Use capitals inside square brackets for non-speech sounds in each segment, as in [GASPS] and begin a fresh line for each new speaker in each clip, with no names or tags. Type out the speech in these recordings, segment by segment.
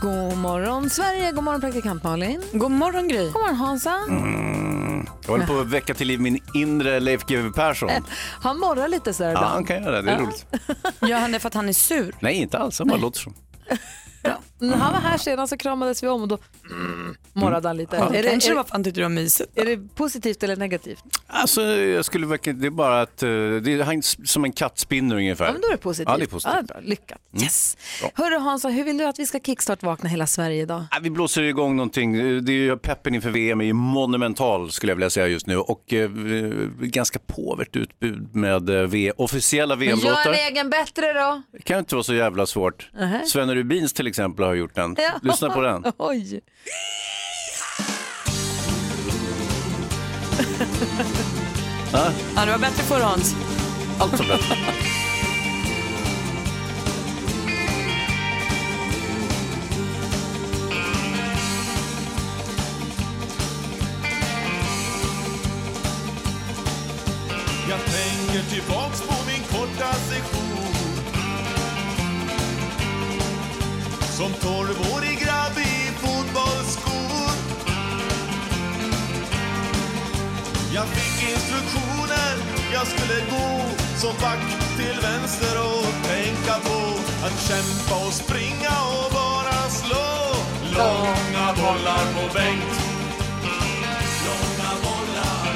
God morgon Sverige, god morgon praktikant Malin. God morgon Gry. God morgon Hansa.
Mm, Jag håller på att väcka till liv min inre Leif GW Persson.
[LAUGHS] Han morrar lite sådär
Ja,
ibland.
han kan göra det. Det är roligt.
Gör han det för att han är sur?
Nej, inte alls. Han bara låter som.
När han var här senast så kramades vi om och då
Mm.
morrade han lite. Är, det,
Kanske det
är,
var för att han tyckte det var
[LAUGHS]
mysigt.
är det positivt eller negativt?
Alltså, jag skulle verkligen... Det är bara att... eh, Det är han som en kattspinner ungefär.
Ja, men då är det positivt.
Ja, det är positivt. Mm.
Ja, bra. Lyckat. Yes. Hörru Hansa, hur vill du att vi ska kickstart-vakna hela Sverige idag?
Ja, Vi blåser igång någonting. Det är ju peppen inför VM är ju monumental skulle jag vilja säga just nu och eh, ganska påvert utbud med eh, v- officiella
Gör en
VM-låtar.
egen bättre då.
Det kan ju inte vara så jävla svårt. Svenne Rubins till exempel har gjort den.
Ja.
Lyssna på den.
[LAUGHS] Oj.
Ja, det var bättre förr Hans.
Allt som bättre.
Jag tänker tillbaks på min korta session Som tolvårig grabb i fotbollsskor Jag fick instruktioner, jag skulle gå som back till vänster och tänka på att kämpa och springa och bara slå Långa bollar på Bengt Långa bollar,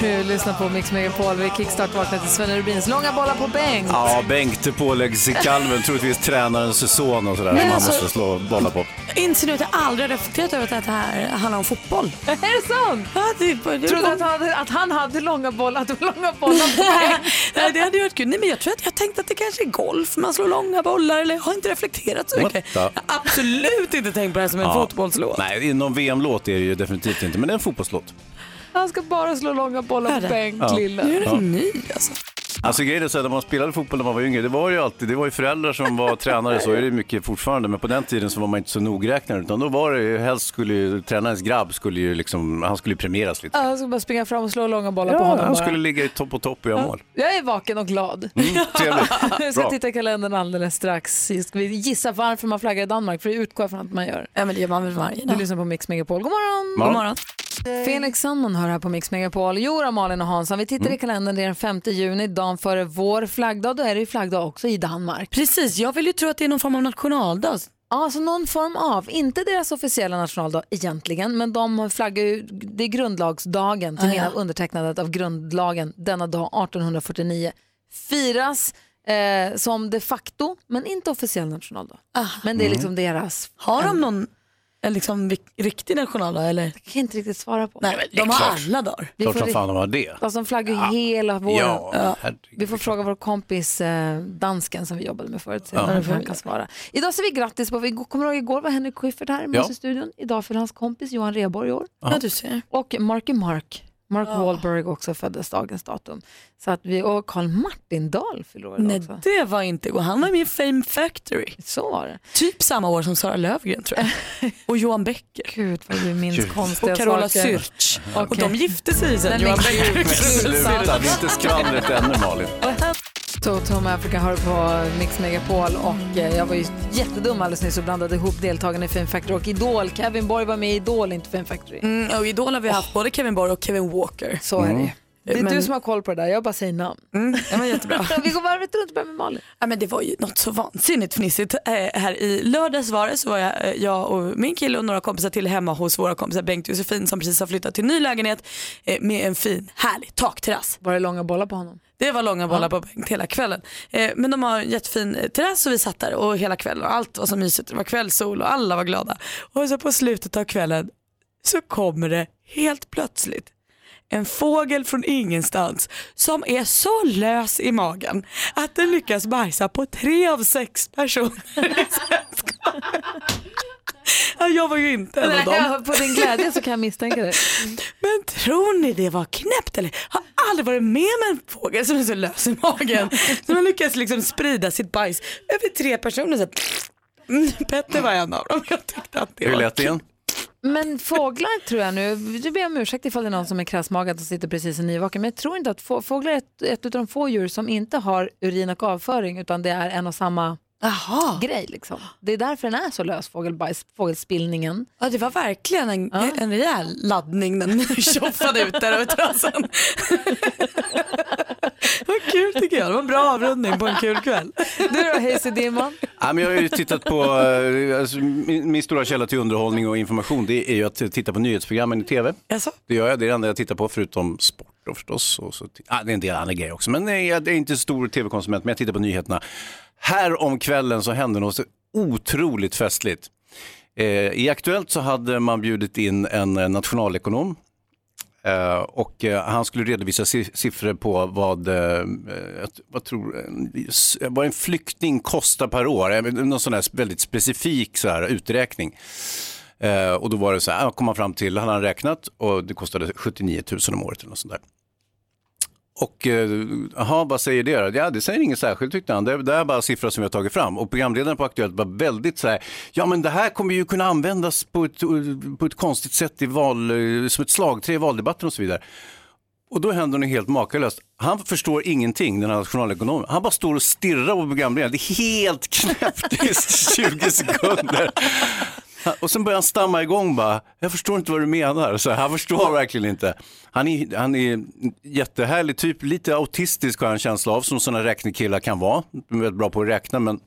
långa
Du lyssnar på Mix Megapol. Vi kickstart-vaknar till Sven Rubins långa bollar på bänk.
Ja, Bengt påläggs i kalven, troligtvis tränarens son och sådär. Man
alltså-
måste slå bollar på.
Inser nu att jag aldrig har reflekterat över att det här handlar om fotboll.
Är det sant?
Ja, det, det, det,
Trodde att han hade, att han hade långa bollar, att det var långa bollar på bänk.
[LAUGHS] Nej, det hade ju varit kul. Nej, men jag, tror att jag tänkte att det kanske är golf, man slår långa bollar eller har inte reflekterat så
What
mycket.
the-
Jag har absolut inte tänkt på det här som en fotbollslåt.
Nej, någon VM-låt är det ju definitivt inte, men det är en fotbollslåt.
Han ska bara slå långa bollar på
Hörde.
bänk,
Ja.
lille.
Nu är det en ny alltså.
Alltså grejen är så här, när man spelade fotboll när man var yngre, det var ju alltid, det var ju föräldrar
[LAUGHS]
som var tränare, så är det mycket fortfarande, men på den tiden så var man inte så nogräknad, utan då var det ju, helst skulle ju, tränarens grabb skulle ju liksom, han skulle ju premieras lite.
Han ska bara springa fram och slå långa bollar på
Ja,
honom.
han
bara.
skulle ligga i topp på topp och göra mål.
Jag är vaken och glad.
Mm,
Jag [LAUGHS]
trevligt.
ska
Bra.
titta i kalendern alldeles strax. Ska vi gissa varför man flaggar i Danmark? För det utgår jag från att man gör.
Ja, men det gör man väl varje
Du
dag.
lyssnar på Mix Megapol. God morgon!
God morgon.
Felix Sandman hör här på Mix Megapol. Jora, Malin och Hansson, vi
Mm.
tittar i kalendern. Det är den 5 juni, dagen före vår flaggdag. Då är det ju flaggdag också i Danmark.
Precis, jag vill ju tro att det är någon form av nationaldag.
Alltså någon form av, inte deras officiella nationaldag egentligen, men de flaggar ju, det är grundlagsdagen till
Ah,
minne
ja.
av undertecknandet av grundlagen denna dag 1849. Firas eh, som de facto, men inte officiell nationaldag.
Ah.
Men
Mm.
det är liksom deras,
Har de någon eh, liksom, vik- riktig nationaldag eller?
jag kan inte riktigt svara på.
Nej, men de har alla dagar.
Vi
Klart
får,
som fan de har det.
alltså, de flaggar ju hela våren.
Ja, herregud.
Vi får fråga vår kompis eh, dansken som vi jobbade med förut. Ja.
Mm.
Om han kan svara. Idag säger vi grattis på, vi kommer du ihåg igår var Henrik Schyffert här med
Ja.
oss i studion. Idag fyller hans kompis Johan Rheborg år.
Ja, du ser.
Och Marky Mark, Mark Wahlberg också föddes dagens datum. Så att vi, och Carl Martin Dahl fyller år idag
Nej,
också.
det var inte igår. Han var med i Fame Factory.
Så var det.
Typ samma år som Sara Lövgren tror jag.
[LAUGHS]
Och Johan Becker.
Gud vad vi minns konstiga
Och Carola
saker.
Syrtz.
Okej.
Och de gifte sig sen.
Nej,
Johan
men
Becker.
gud,
Sluta, det är inte skvallret ännu Malin.
Toto med Africa har på Mix Megapol
Mm.
och eh, jag var ju jättedum alldeles nyss och blandade ihop deltagarna i Fame Factory och Idol. Kevin Borg var med i Idol, inte Fame Factory.
Mm, och Idol har vi haft både Kevin Borg och Kevin Walker.
Så är det ju. Det är
Men-
du som har koll på det där, jag bara säger namn.
Mm, det var jättebra.
[LAUGHS] Vi går varvet runt och börjar med Malin.
Ja, men det var ju något så vansinnigt fnissigt. Eh, här i lördags var det så var jag, eh, jag och min kille och några kompisar till hemma hos våra kompisar Bengt och Josefin som precis har flyttat till ny lägenhet eh, med en fin härlig takterrass.
Bara långa bollar på honom.
Det var långa bollar på bänk hela kvällen. Eh, men de har en jättefin eh, terrass och vi satt där och hela kvällen och allt var så mysigt. Det var kvällssol och alla var glada. Och så på slutet av kvällen så kommer det helt plötsligt en fågel från ingenstans som är så lös i magen att den lyckas bajsa på tre av sex personer i sällskapet. Ja, jag var ju inte en av dem.
På din glädje så kan jag misstänka det.
Men tror ni det var knäppt eller? Har aldrig varit med om en fågel som är så lös i magen. Som har lyckats liksom sprida sitt bajs över tre personer. Så här, Mm, Petter var en av dem. Jag tyckte att det
Hur
var
lät det igen?
Men fåglar tror jag nu, du ber om ursäkt ifall det är någon som är krassmagad och sitter precis i nyvaken, men jag tror inte att få, fåglar är ett, ett av de få djur som inte har urin och avföring utan det är en och samma
Jaha,
grej. Liksom. Det är därför den är så lös, fågelbajs, fågelspillningen.
ja, det var verkligen en, en rejäl laddning den [LAUGHS] tjoffade ut där över trasan. Vad kul tycker jag, det var en bra avrundning på en kul kväll.
Du då Hayes Dimman?
Ja, men jag har ju tittat på, eh, alltså, min, min stora källa till underhållning och information det är ju att titta på nyhetsprogrammen i tv.
Jaså?
Det gör jag, det är det enda jag tittar på förutom sport då förstås. Och så, ah, det är en del andra grejer också, men nej, jag är inte stor tv-konsument, men jag tittar på nyheterna. Här om kvällen så hände något så otroligt festligt. Eh, I Aktuellt så hade man bjudit in en eh, nationalekonom Eh, och eh, han skulle redovisa si- siffror på vad, eh, ett- vad tror, en- s- vad en flykting kostar per år. Eh, Någon sån här väldigt specifik så här, uträkning. Eh, och då var det så här, ah, kom han fram till, han hade räknat och det kostade 79 000 om året eller något sånt där. Och eh, jaha, vad säger det då? Ja, det säger inget särskilt tyckte han. Det, det är bara siffror som vi har tagit fram. Och programledaren på Aktuellt var väldigt så här, ja men det här kommer ju kunna användas på ett, på ett konstigt sätt i val, eh, som ett slagträ i valdebatten och så vidare. Och då händer något helt makalöst. Han förstår ingenting, den här nationalekonomen. Han bara står och stirrar på programledaren. Det är helt knäppt i [LAUGHS] 20 sekunder. Han- Och sen börjar han stamma igång bara. Jag förstår inte vad du menar. Så han förstår verkligen inte. Han är, han är en jättehärlig typ. Lite autistisk har jag en känsla av, som sådana räknekillar kan vara. De är väldigt bra på att räkna, men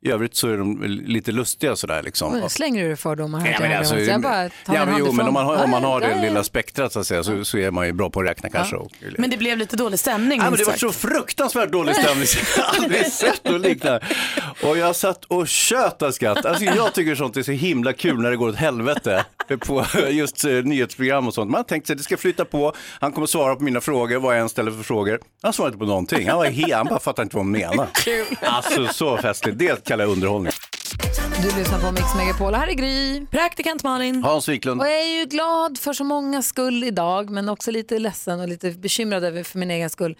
i övrigt så är de lite lustiga sådär liksom.
Nu slänger du fördomar här
Ja,
till
men
höger
alltså,
och vänster. Jag bara tar
ja,
min
men,
hand
jo, men
ifrån.
om man har, om man har
Ja,
det
ja,
lilla
ja.
spektrat så, att säga, så, så är man ju bra på att räkna kanske. Och,
Men det blev lite dålig stämning.
Ja, men
minst
det var
sagt.
så fruktansvärt dålig
[LAUGHS]
[LAUGHS]
stämning så jag har aldrig sett något liknande. Och jag satt och tjöt av skratt. Alltså, jag tycker sånt är så himla kul när det går åt helvete på just eh, nyhetsprogram och sånt. Man har tänkt sig det ska flyta på, han kommer svara på mina frågor, vad jag än ställer för frågor. Han svarade inte på någonting, han var helt, han bara fattade inte vad
[LAUGHS]
han menade. Alltså så festligt, det kallar jag underhållning.
Du lyssnar på Mix Megapol. Här är Gry.
Praktikant Malin.
Hans Wiklund.
Och jag är ju glad för så många skull idag, men också lite ledsen och lite bekymrad över för min egen skull.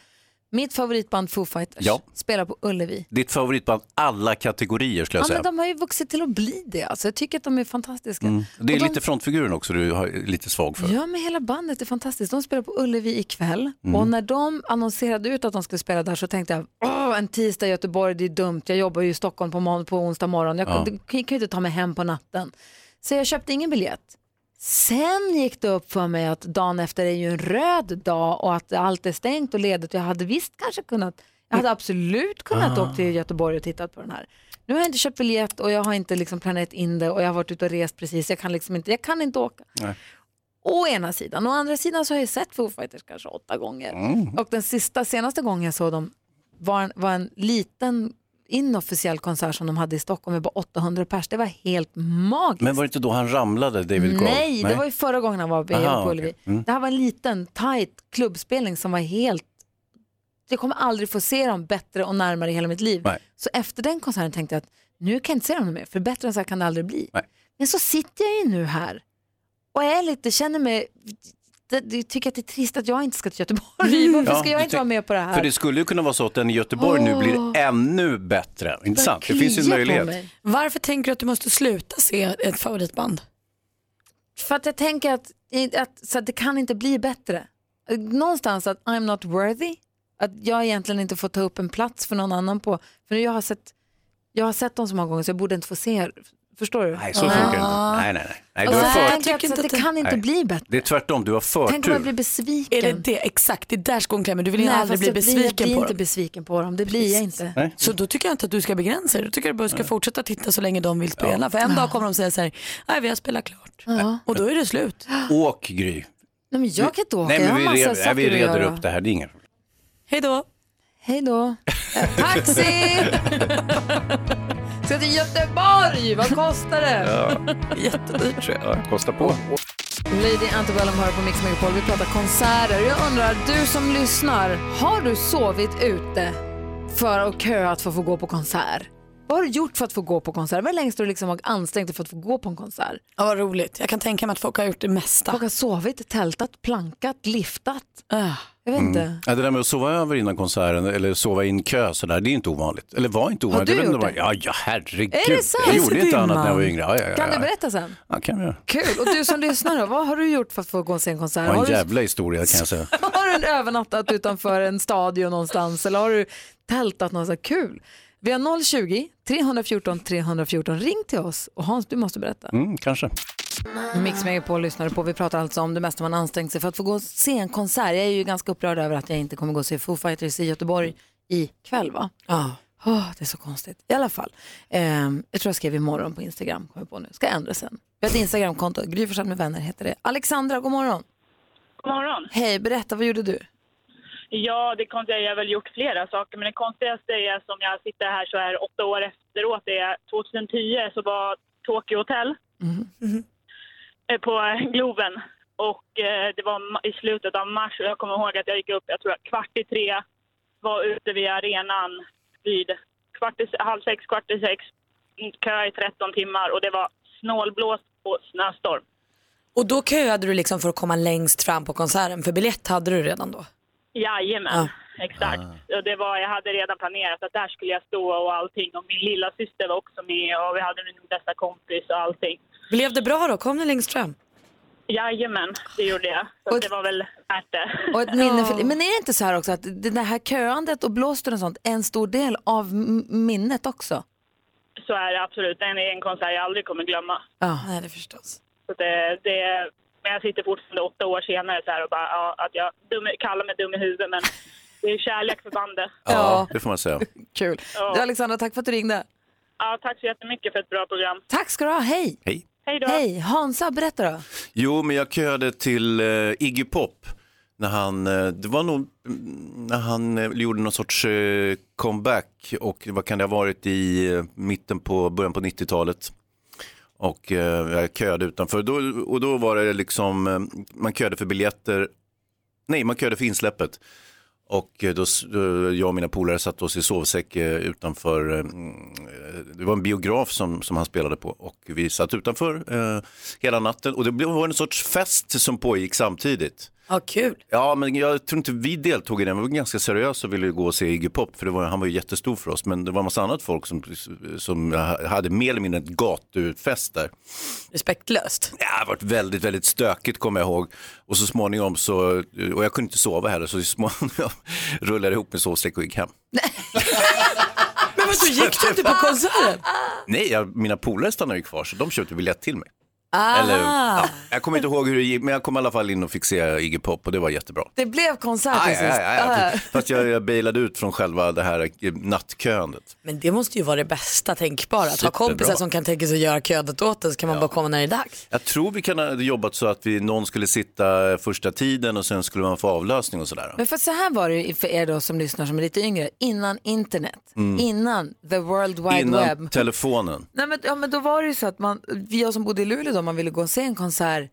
Mitt favoritband Foo Fighters
Ja.
spelar på Ullevi.
Ditt favoritband alla kategorier skulle jag
Ja,
säga. Mm.
men de har ju vuxit till att bli det. Alltså, jag tycker att de är fantastiska.
Det är
Och de,
lite frontfiguren också du har lite svag för. Mm.
Ja, men hela bandet är fantastiskt. De spelar på Ullevi ikväll. Och när de annonserade ut att de skulle spela där så tänkte jag, Åh, en tisdag i Göteborg, det är dumt. Jag jobbar ju i Stockholm på, mån- på onsdag morgon. Jag kan,
Ja.
det- kan ju inte ta mig hem på natten. Så jag köpte ingen biljett. Sen gick det upp för mig att dagen efter är ju en röd dag och att allt är stängt och ledigt. Jag hade visst kanske kunnat, jag hade absolut
Ah.
kunnat åka till Göteborg och tittat på den här. Nu har jag inte köpt biljett och jag har inte liksom planerat in det och jag har varit ute och rest precis. Jag kan liksom inte, jag kan inte åka. Å ena sidan. Å andra sidan så har jag sett Foo Fighters kanske åtta gånger.
Mm.
Och den sista, senaste gången jag såg dem var en, var en liten inofficiell konsert som de hade i Stockholm med bara 800 pers. Det var helt magiskt.
Men var det inte då han ramlade, David Grohl?
Nej, det var ju förra gången han var på
Aha,
på Ullevi.
okej. Mm.
Det här var en liten, tight klubbspelning som var helt... Jag kommer aldrig få se dem bättre och närmare i hela mitt liv.
Nej.
Så efter den konserten tänkte jag att nu kan jag inte se dem mer, för bättre än så här kan det aldrig bli.
Nej.
Men så sitter jag ju nu här och är lite, känner mig... det- det- tycker att det är trist att jag inte ska till Göteborg. Varför
Mm. Ja,
ska
du
jag inte
tänk-
vara med på det här?
För det skulle ju kunna vara så att den i Göteborg nu blir ännu bättre. Inte sant? Det finns ju en
Kliar på
möjlighet.
mig.
Varför tänker du att du måste sluta se ett favoritband?
För att jag tänker att, att, så att det kan inte bli bättre. Någonstans att I'm not worthy, att jag egentligen inte får ta upp en plats för någon annan på. För nu jag har sett, jag har sett dem så många gånger så jag borde inte få se er. Förstår du?
Nej, så funkar det inte. Nej, nej, nej. nej du
Ah. Och så
har för...
tänker jag att, så att det kan inte
Nej.
bli bättre.
Det är tvärtom, du har
Tänk om jag blir
förtur.
besviken.
Är det det exakt? Det är där skon klämmer. Du vill
Nej,
aldrig
fast
bli
jag blir, jag
besviken
blir
på
inte
dem.
besviken på dem. Det blir jag inte.
Nej.
Så då tycker jag inte att du ska begränsa dig. Då tycker jag att du bara ska fortsätta titta så länge de vill spela. För en dag kommer de säga så här, nej vi har spelat klart. Och då är det slut.
Åk Gry.
Nej, men jag kan inte åka.
Nej,
jag
men
har
vi,
massa
re... nej,
saker
vi
att
reder
göra.
upp det här, det är inga problem.
Hej då.
Hej då. Eh,
[LAUGHS]
Taxi! Ska till Göteborg. Vad kostar det? [LAUGHS]
Jättedyrt tror jag. Kosta på.
Lady Antebellum hör på Mix Megapol. Vi pratar konserter. Jag undrar, du som lyssnar, har du sovit ute för att köa att få, få gå på konsert? Vad har du gjort för att få gå på konsert? Vad är det längst du liksom har ansträngt dig för att få gå på en konsert?
Ja, vad roligt. Jag kan tänka mig att folk har gjort det mesta.
Folk har sovit, tältat, plankat, liftat.
Ah.
Jag vet inte.
Ja, det där med att sova över innan konserten eller sova in kö sådär, det är inte ovanligt. Eller var inte ovanligt.
du
Jag vet inte
gjort
vad- Ja, ja, herregud.
Är det sant?
Jag gjorde inte
Din
annat när jag var
man.
yngre. Ja, ja, ja, ja.
Kan du berätta sen?
Ja, kan jag.
Kul. Och du som lyssnar då, vad har du gjort för att få gå och se en konsert?
Det var
Har
en
du,
jävla historia kan jag säga.
[LAUGHS] har du övernattat utanför en stadion någonstans eller har du tältat någonstans? Kul. Vi har 020-314 314. Ring till oss och Hans, du måste berätta.
Mm, kanske.
Mix Megapol lyssnar du på. Vi pratar alltså om det mesta man ansträngt sig för att få gå och se en konsert. Jag är ju ganska upprörd över att jag inte kommer gå och se Foo Fighters i Göteborg ikväll va? Åh, det är så konstigt. I alla fall, ehm, jag tror jag skrev imorgon på Instagram, kommer jag på nu. Ska jag ändra sen. Vi har ett Instagramkonto, Gry Forssell med vänner heter det. Alexandra, god morgon.
God morgon.
Hej, berätta vad gjorde du?
Ja, det konstiga, jag har väl gjort flera saker, men det konstigaste är som jag sitter här så här åtta år efteråt, är 2010 så var Tokyo Hotel eh, på Globen och eh, det var ma- i slutet av mars och jag kommer ihåg att jag gick upp, jag tror jag, kvart i tre, var ute vid arenan vid kvart i, se- halv sex, kvart i sex, kö i 13 timmar och det var snålblåst och snöstorm.
Och då köade du liksom för att komma längst fram på konserten, för biljett hade du redan då.
Ah.
Jajamän, exakt. Och det var, jag hade redan planerat att där skulle jag stå och allting. Och min lilla syster var också med och vi hade min bästa kompis och allting.
Blev det bra då? Kom ni längst fram?
Jajamän, det gjorde jag. Så
Och-
det var väl värt det.
Och ett minne för, men är det inte så här också att det det här köandet och blåsten och sånt är en stor del av m- minnet också?
Så är det absolut. Det är en konsert jag aldrig kommer glömma.
Ja.
Nej, det förstås.
Så det, det, men jag sitter fortfarande åtta år senare så här och bara, ja, att jag dum, kallar mig dum i huvudet men det är kärlek för bandet.
Ja. Det får man säga.
[LAUGHS] Kul.
Ja.
Du, Alexandra, tack för att du ringde.
Ja, tack så jättemycket för ett bra program.
Tack ska du ha, hej.
Hej.
Hej då!
Hej, Hansa, berätta då.
Jo, men jag köade till eh, Iggy Pop när han, eh, det var nog mm, när han eh, gjorde någon sorts eh, comeback och vad kan det ha varit i eh, mitten på, början på 90-talet. Och eh, jag köade utanför då, och då var det liksom, eh, man köade för biljetter, nej man köade för insläppet. Och eh, då, s- eh, jag och mina polare satte oss i sovsäck eh, utanför, eh, mm, eh, det var en biograf som, som han spelade på och vi satt utanför eh, hela natten och det blev- var en sorts fest som pågick samtidigt.
Ja, kul.
Ja, men jag tror inte vi deltog i den. Vi var ganska seriösa och ville ju gå och se Iggy Pop, för det var, han var ju jättestor för oss. Men det var en massa annat folk som, som hade mer eller mindre ett gatufest där.
Respektlöst.
Ja, det har varit väldigt, väldigt stökigt kommer jag ihåg. Och så småningom så, och jag kunde inte sova heller, så så småningom [LAUGHS] rullade jag ihop min sovsäck och gick hem.
Men vadå, gick du inte på konserten?
Nej, jag, mina polare stannade ju kvar, så de köpte biljett till mig. Eller,
Ah,
ja, jag kommer inte ihåg hur det gick, men jag kom i alla fall in och fick se Iggy Pop och det var jättebra.
Det blev konsert till
Aj,
sist.
aj, aj,
Ah.
aj. Fast jag, jag bailade ut från själva det här eh, nattköandet.
Men det måste ju vara det bästa tänkbara, att ha
Superbra.
kompisar som kan tänka sig att göra ködet åt en så kan man bara komma när det är dags.
Jag tror vi kan ha jobbat så att vi, någon skulle sitta första tiden och sen skulle man få avlösning och sådär.
Men för så här var det ju för er då som lyssnar som är lite yngre, innan internet, innan the world wide web.
Mm. Innan telefonen.
Nej, men, ja, men då var det ju så att man, vi jag som bodde i Luleå då, man ville gå och se en konsert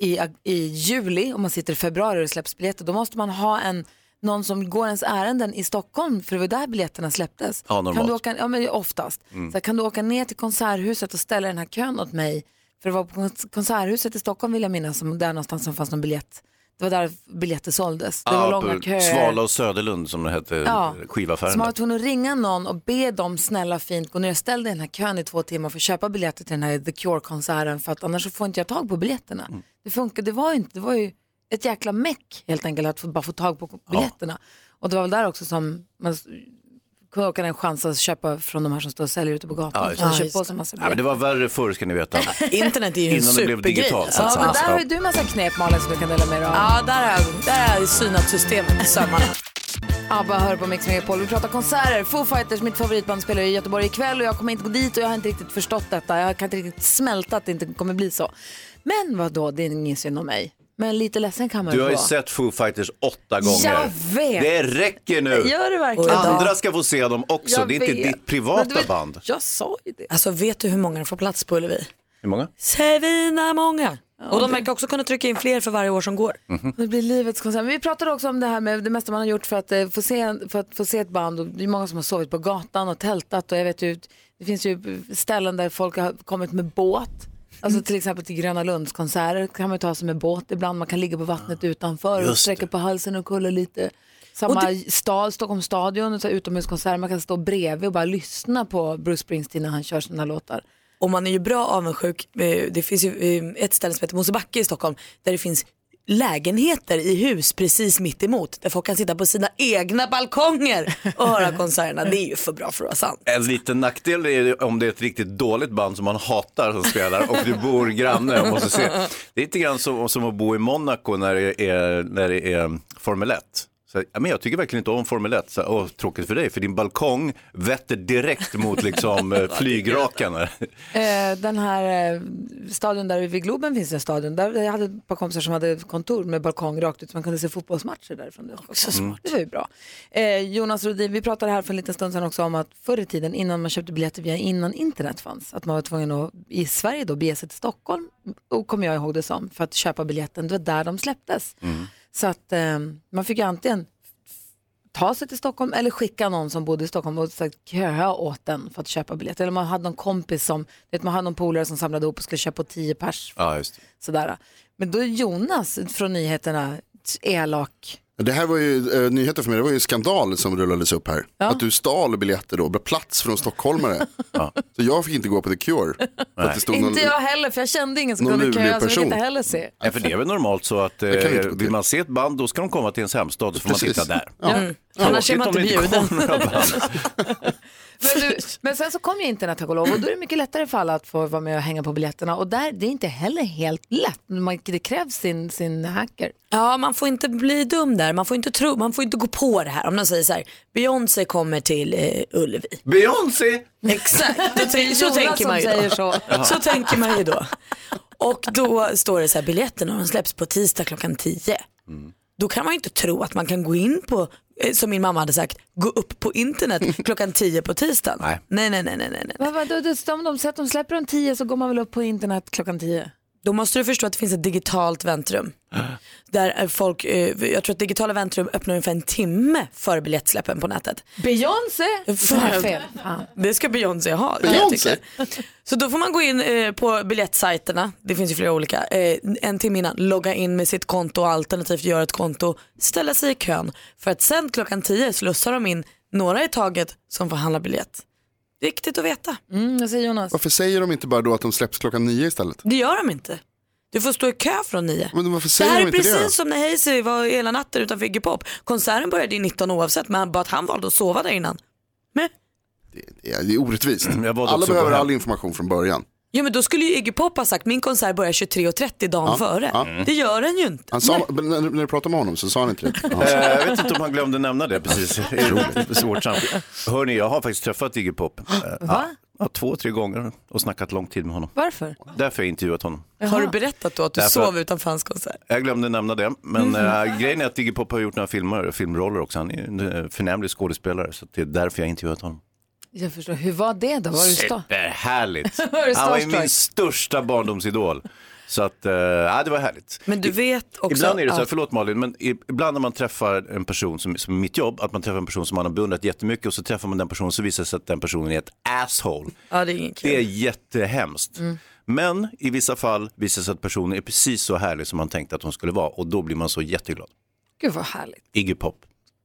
i, ag- i juli och man sitter i februari och det släpps biljetter, då måste man ha en någon som går ens ärenden i Stockholm för det var där biljetterna släpptes.
Ja, normalt. Mm.
kan du åka, ja, men oftast. Så här, kan du åka ner till Konserthuset och ställa den här kön åt mig? För det var på Kons- Konserthuset i Stockholm vill jag minnas, som där någonstans som fanns någon biljett. Det var där biljetter såldes. Det var
Ja,
långa
på
köer.
Svala och Söderlund som det hette,
Ja. Så
skivaffären.
man var
där.
tvungen att ringa någon och be dem snälla fint gå ner och ställ dig i den här kön i två timmar för att köpa biljetter till den här The Cure-konserten för att annars så får inte jag tag på biljetterna.
Mm.
Det funkar, det var ju inte, det var ju ett jäkla meck helt enkelt att få, bara få tag på biljetterna. Och det var väl där också som man s- kunde åka en chans att köpa från de här som står och säljer ute på
Ja,
gatan.
just
Ja,
det.
köpa på sig en massa
Ja, men det
biljetter.
var värre förr ska ni veta.
Internet är
[LAUGHS]
ju en
Innan det blev
supergrej.
digitalt, så
Ja,
Ja,
att säga.
men där
Ja.
har ju du massa knep Malin som du kan dela med dig av.
ja, där har jag- där har jag synat systemet i [LAUGHS] sömmarna.
ABBA hör på Mix Megapol. Vi pratar konserter. Foo Fighters, mitt favoritband, spelar i Göteborg ikväll och jag kommer inte gå dit och jag har inte riktigt förstått detta. Jag kan inte riktigt smälta att det inte kommer bli så. Men vad då? det är ingen synd om mig. Men lite ledsen kan man
Du
ju
har ju
få.
sett Foo Fighters åtta gånger.
Jag vet.
Det räcker nu.
Gör det verkligen?
Andra ska få se dem också.
Jag
det är inte
vet.
ditt privata
Men du vet,
band.
Jag sa ju det.
Alltså vet du hur många de får plats på Ullevi?
Hur många?
Svina många. Och de verkar också kunna trycka in fler för varje år som går.
Det blir livets konsert. Men vi pratade också om det här med det mesta man har gjort för att, eh, få, se, för att få se ett band. Och det är många som har sovit på gatan och tältat. Och jag vet ju, Det finns ju ställen där folk har kommit med båt. Alltså till exempel till Gröna Lundskonserter kan man ju ta sig med båt ibland. Man kan ligga på vattnet utanför och
Just
sträcka på halsen och kolla lite. Samma stad, Stockholms stadion, och så här utomhuskonsert. Man kan stå bredvid och bara lyssna på Bruce Springsteen när han kör sina låtar.
Och man är ju bra avundsjuk. Eh, Det finns ju eh, ett ställe som heter Mosebacke i Stockholm där det finns lägenheter i hus precis mitt emot där folk kan sitta på sina egna balkonger och höra konserterna. Det är ju för bra för att vara sant.
En liten nackdel är det om det är ett riktigt dåligt band som man hatar som spelar och du bor granne och måste se. Det är lite grann som, som att bo i Monaco när det är, när det är Formel 1. Så, här, ja, men jag tycker verkligen inte om Formel 1. Så, här, åh, tråkigt för dig, för din balkong vetter direkt mot liksom, eh,
[LAUGHS]
flygrakarna.
Eh, den här eh, stadion där vid Globen finns en stadion. Där jag hade ett par kompisar som hade kontor med balkong rakt ut så man kunde se fotbollsmatcher därifrån. Det var,
Mm.
det var ju bra. Eh, Jonas Rodin, vi pratade här för en liten stund sedan också om att förr i tiden innan man köpte biljetter via innan internet fanns, att man var tvungen att i Sverige då bege sig till Stockholm, och kommer jag ihåg det som, för att köpa biljetten. Det var där de släpptes. Så att eh, man fick ju antingen ta sig till Stockholm eller skicka någon som bodde i Stockholm och så här köa åt den för att köpa biljett. Eller man hade någon kompis som, vet, man hade någon polare som samlade ihop och skulle köpa tio pers.
Ja, just det.
Sådär. Men då är Jonas från nyheterna elak.
Det här var ju eh, nyheter för mig, det var ju skandal som rullades upp här. Att du stal biljetter då, plats från
[LAUGHS]
stockholmare. Så jag fick inte gå på The Cure. För att det stod någon...
Inte jag heller för jag kände ingen som
någon
kunde köa
lurig
så jag fick
person.
inte heller se.
Nej, för det är väl normalt så att eh,
kan vi inte gå till.
vill man se ett band då ska de komma till ens hemstad så får man
Precis.
titta där.
Ja.
Mm.
Annars är man
Tråkigt
inte
om det
bjuden.
kommer några band.
[LAUGHS] Men, du, men sen så kom ju internet tack och lov och då är det mycket lättare för alla att få vara med och hänga på biljetterna. Och där, det är inte heller helt lätt. Man, det krävs sin, sin
[LAUGHS]
hacker.
Ja, man får inte bli dum där. Man får inte, tro, man får inte gå på det här. Om någon säger så här, Beyoncé kommer till eh, Ullevi.
Beyoncé!
Exakt, så, tänk- så
Jonas
tänker man ju
som
då.
säger så.
[LAUGHS] Så tänker man ju då. Och då står det så här, biljetterna de släpps på tisdag klockan 10. Då kan man ju inte tro att man kan gå in på, eh, som min mamma hade sagt, gå upp
[LAUGHS]
på internet klockan 10 på tisdagen.
Nej.
Nej, nej, nej, nej, nej. nej.
Men vadå, det- om de, säger att de släpper om tio så går man väl upp på internet klockan tio?
Då måste du förstå att det finns ett
[GASPS]
digitalt väntrum. Där är folk, eh, jag tror att digitala väntrum öppnar ungefär en timme före biljettsläppen på nätet.
Beyoncé!
Fan.
Fan, fel. Fan.
Det ska Beyoncé ha.
Beyoncé?
jag tycker. Så då får man gå in eh, på biljettsajterna, det finns ju flera olika, eh, en timme innan, logga in med sitt konto alternativt göra ett konto, ställa sig i kön. För att sen klockan 10 slussar de in några i taget som får handla biljett. Viktigt att veta.
Mm, jag säger Jonas.
Varför säger de inte bara då att de släpps klockan nio istället?
Det gör de inte. Du får stå i kö från 9.
Men varför
Det
säger
här
de
är
inte
precis
det? då?
som när Hazy var hela natten utanför Iggy Pop. Konserten började i 19 oavsett men han- bara att han valde att sova där innan. Men,
Ja, det är orättvist.
Jag valde också
Alla
att gå
behöver
hem.
all information från början.
ja, men då skulle ju Iggy Pop ha sagt min konsert börjar 23.30 dagen före. Det gör den ju inte.
Han sa, men när, när du pratade med honom så sa han
[LAUGHS]
inte det. Jaha.
Eh, Jag vet inte om han glömde nämna det precis. Svårt samtal. Hörni, jag har faktiskt träffat Iggy Pop.
[GASPS]
Eh, Ja, två, tre gånger och snackat lång tid med honom.
Varför?
Därför har jag intervjuat honom.
Har du berättat då att du
Därför
sov
att-
utanför hans konsert?
Jag glömde nämna det, men
Mm.
eh, grejen är att Iggy Pop har gjort några filmer, filmroller också. Han är en eh, förnämlig skådespelare, så det är därför jag har intervjuat honom.
Jag förstår. Hur var det då? Var du stå?
[LAUGHS]
Superhärligt!
Var du
Han var ju
starstruck?
min största barndomsidol. Så att, eh, ja, det var härligt.
Men du vet också
Ibland är det så här,
att
förlåt Malin, men i- ibland när man träffar en person som, som är mitt jobb, att man träffar en person som man har beundrat jättemycket och så träffar man den personen så visar det sig att den personen är ett asshole.
ja, det är ingen kul.
Det är jättehemskt.
Mm.
Men i vissa fall visar det sig att personen är precis så härlig som man tänkte att hon skulle vara och då blir man så jätteglad.
Gud vad härligt.
Iggy Pop.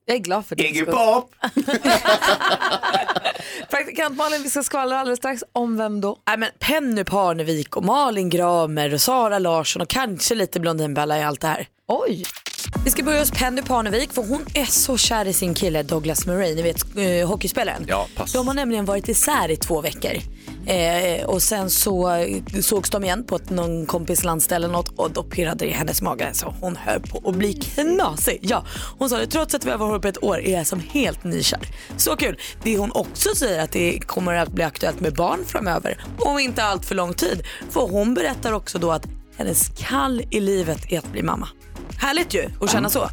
Jag är glad för det.
Iggy Pop!
Praktikant Malin, vi ska skvallra alldeles strax. Om vem då?
Nej, men Penny Parnevik och Malin Gramer och Sara Larsson och kanske lite Blondinbella i allt det här.
Oj!
Vi ska börja hos Penny Parnevik för hon är så kär i sin kille Douglas Murray, ni vet eh, hockeyspelaren.
Ja, pass.
De har nämligen varit isär i två veckor. Eh, och sen så eh, sågs de igen på ett, någon kompis landställe eller något och då pirrade det i hennes mage så hon höll på att bli knasig. Ja, hon sa det trots att vi har varit ihop ett år är jag som helt nykär. Så kul. Det hon också säger att det kommer att bli aktuellt med barn framöver om inte allt för lång tid. För hon berättar också då att hennes kall i livet är att bli mamma. Härligt ju att känna så.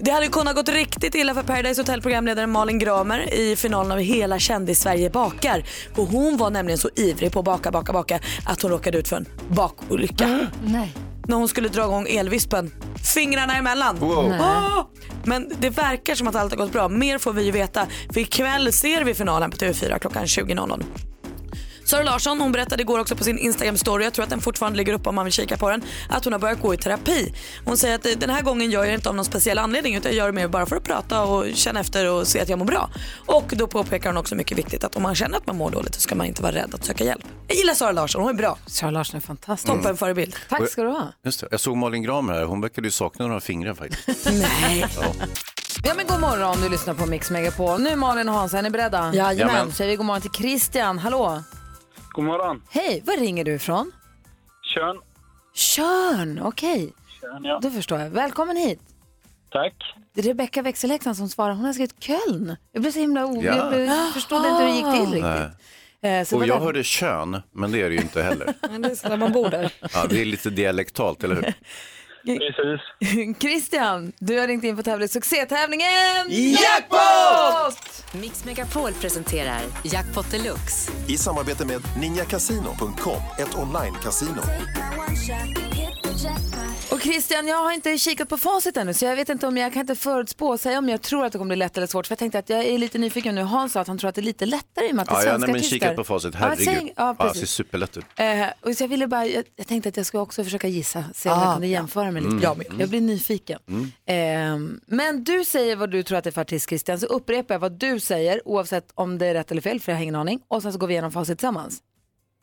Det hade ju kunnat gått riktigt illa för Paradise Hotel programledaren Malin Gramer i finalen av Hela kändis-Sverige bakar. För hon var nämligen så ivrig på att baka, baka, baka att hon råkade ut för en bakolycka.
Nej.
När hon skulle dra igång elvispen, fingrarna emellan. Ah! Men det verkar som att allt har gått bra. Mer får vi ju veta för ikväll ser vi finalen på TV4 klockan 20.00. Sara Larsson hon berättade igår också på sin Instagram-story, jag tror att den fortfarande ligger uppe om man vill kika på den, att hon har börjat gå i terapi. Hon säger att eh, den här gången gör jag det inte av någon speciell anledning utan jag gör det mer bara för att prata och känna efter och se att jag mår bra. Och då påpekar hon också mycket viktigt att om man känner att man mår dåligt så ska man inte vara rädd att söka hjälp. Jag gillar Sara Larsson, hon är bra.
Sara Larsson är fantastisk.
Toppen förebild.
Tack ska du ha.
Just det. Jag såg Malin Gramer här, hon verkade ju sakna några
[LAUGHS]
fingrar faktiskt.
Nej.
Ja.
Ja men god morgon om du lyssnar på Mix Megapol. Nu Malin och Hans, är ni beredda?
Jajamän.
Säger vi god morgon till Christian, hallå.
God morgon.
Hej, var ringer du ifrån?
Tjön.
Körn, okej.
Tjön, ja.
Då förstår jag. Välkommen hit.
Tack.
Det är Rebecka växelhäxan som svarar. Hon har skrivit Köln. Jag blev så himla o...
Ja.
Jag blev- jag förstod inte hur det gick till
Nej.
riktigt. Eh, så det var
Och jag
därför-
hörde kön, men det är det ju inte heller.
Men det är så där man bor där.
Ja, det är lite dialektalt, eller hur?
Precis.
[LAUGHS] Christian, du har ringt in på tävling. Succétävlingen Jackpot!
Mix Megapol presenterar Jackpot Deluxe.
I samarbete med ninjakasino.com, ett online-casino.
Och Christian, jag har inte kikat på facit ännu så jag vet inte om jag kan inte förutspå och säga om jag tror att det kommer bli lätt eller svårt. För jag tänkte att jag är lite nyfiken nu. Hans sa att han tror att det är lite lättare i och med att det är
Ja, jag har
svenska
nämligen
artister.
kikat på facit,
Ja, säg-
herregud.
Ja,
det ser
precis.
superlätt ut.
Eh, och så jag, ville bara, jag, jag tänkte att jag skulle också försöka gissa, se om jag kunde jämföra mig lite. Jag, jag blir nyfiken. Eh, men du säger vad du tror att det är för artist Christian, så upprepar jag vad du säger oavsett om det är rätt eller fel, för jag har ingen aning. Och sen så går vi igenom facit tillsammans.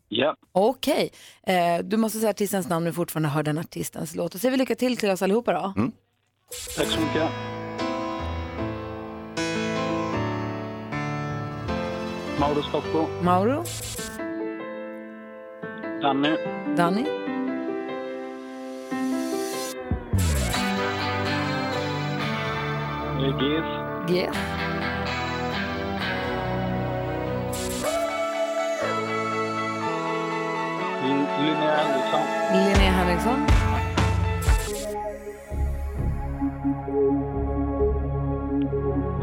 Ja.
Okej, eh, du måste säga artistens namn när du fortfarande hör den artistens låt. Och så säger vi lycka till till oss allihopa då.
Tack så mycket. Mauro Scocco,
Mauro,
Danny,
Danny,
Regis,
G,
Linnea Andersson,
Linnea Henriksson,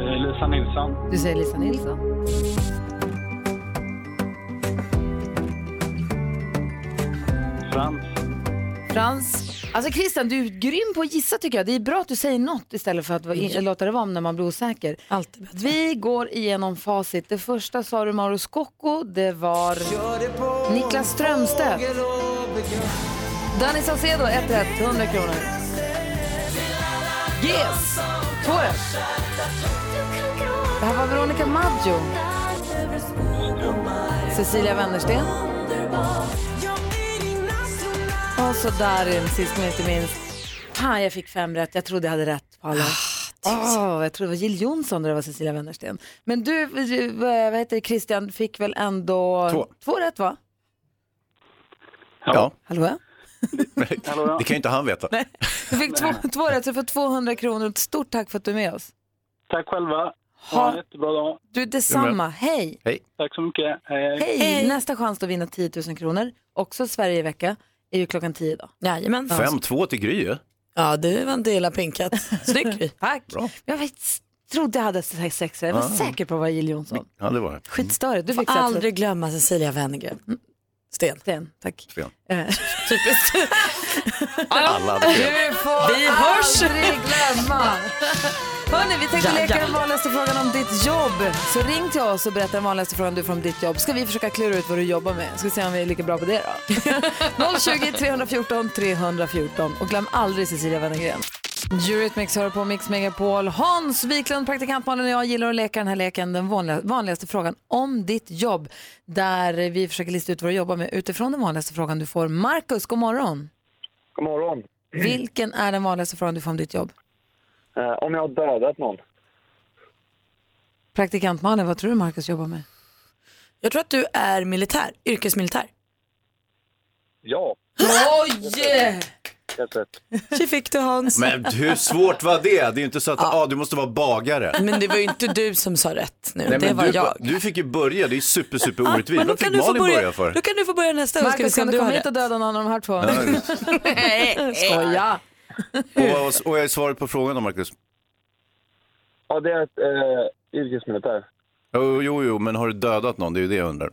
eh, Lisa Nilsson,
du säger Lisa Nilsson.
Frans,
Frans. Alltså Christian, du är grym på att gissa tycker jag. Det är bra att du säger något istället för att vara- låta det vara när man blir osäker.
Alltid bättre.
Vi går igenom facit. Det första sa du Mauro Scocco, det var Niklas Strömstedt. Danny Saucedo, 1 rätt, 100 kronor. Yes! 2 rätt. Det här var Veronica Maggio. Cecilia Wennersten. Och så Darin, sist men inte minst. Fan, jag fick fem rätt. Jag trodde jag hade rätt på
Ah,
alla. Åh, jag tror det var Jill Johnson och det var Cecilia Wennersten. [LAUGHS] Men du, du, vad vad heter det, Christian, fick väl ändå
Två.
rätt va?
Ja, [LAUGHS]
Hallå?
hallå ja.
det kan ju inte han veta.
Du fick två, två rätt, så du får 200 kronor. Ett Stort tack för att du är med oss.
Tack själva. Ha en jättebra dag.
Du, detsamma. Hej.
Tack så mycket. Hej, hej.
Hej. Nästa chans att vinna 10 000 kronor, också Sverige i vecka, är ju klockan 10 idag.
Jajamän.
5-2 till Gry ju.
Ja, du vann del av pinkat. Snyggt Gry.
[LAUGHS] Tack.
Bra.
Jag vet, trodde jag hade sex rätt. Jag var säker på vad Jill Johnson.
Ja, det var det.
Skitstörigt. Du fick sex rätt.
Aldrig glömma Cecilia Wennergren. Sten.
Sten, tack.
Sten.
Eh.
Typiskt.
Alla hade fel.
Du får
Vi hörs.
aldrig glömma. Hörni, vi tänkte
Ja,
leka
ja.
den vanligaste frågan om ditt jobb. Så ring till oss och berätta den vanligaste frågan du får om ditt jobb. Ska vi försöka klura ut vad du jobbar med? Ska vi se om vi är lika bra på det då? 020 314 314. Och glöm aldrig Cecilia Wennergren. Eurythmics hör på Mix Megapol. Hans Wiklund, praktikantmannen och jag gillar att leka den här leken, den vanliga- vanligaste frågan om ditt jobb. Där vi försöker lista ut vad du jobbar med utifrån den vanligaste frågan du får. Markus, god morgon.
[LAUGHS] God morgon.
Vilken är den vanligaste frågan du får om ditt jobb?
Eh, om jag har dödat någon?
Praktikant Malin, vad tror du Markus jobbar med?
Jag tror att du är militär, yrkesmilitär.
Ja,
Oj!
helt rätt.
Tji fick du Hans. Men,
Men hur svårt var det? Det är ju inte så att ah, du måste vara bagare.
det var ju inte du som sa rätt nu,
Nej,
det
men
var
du,
jag.
du fick ju börja, det är super, super orättvist.
Men då
Vad
kan,
fick
du få
Malin börja
börja,
för?
då kan du få börja nästa gång ska vi
Markus,
se
kan
om
du
du har
komma hit
rätt.
och döda någon av de här två?
Skoja.
[LAUGHS] Skoja!
Och, och, och jag är svaret på frågan då, Marcus?
Ja, det är ett eh, yrkesmilitär.
Jo, jo, jo, men har du dödat någon? Det är ju det jag undrar.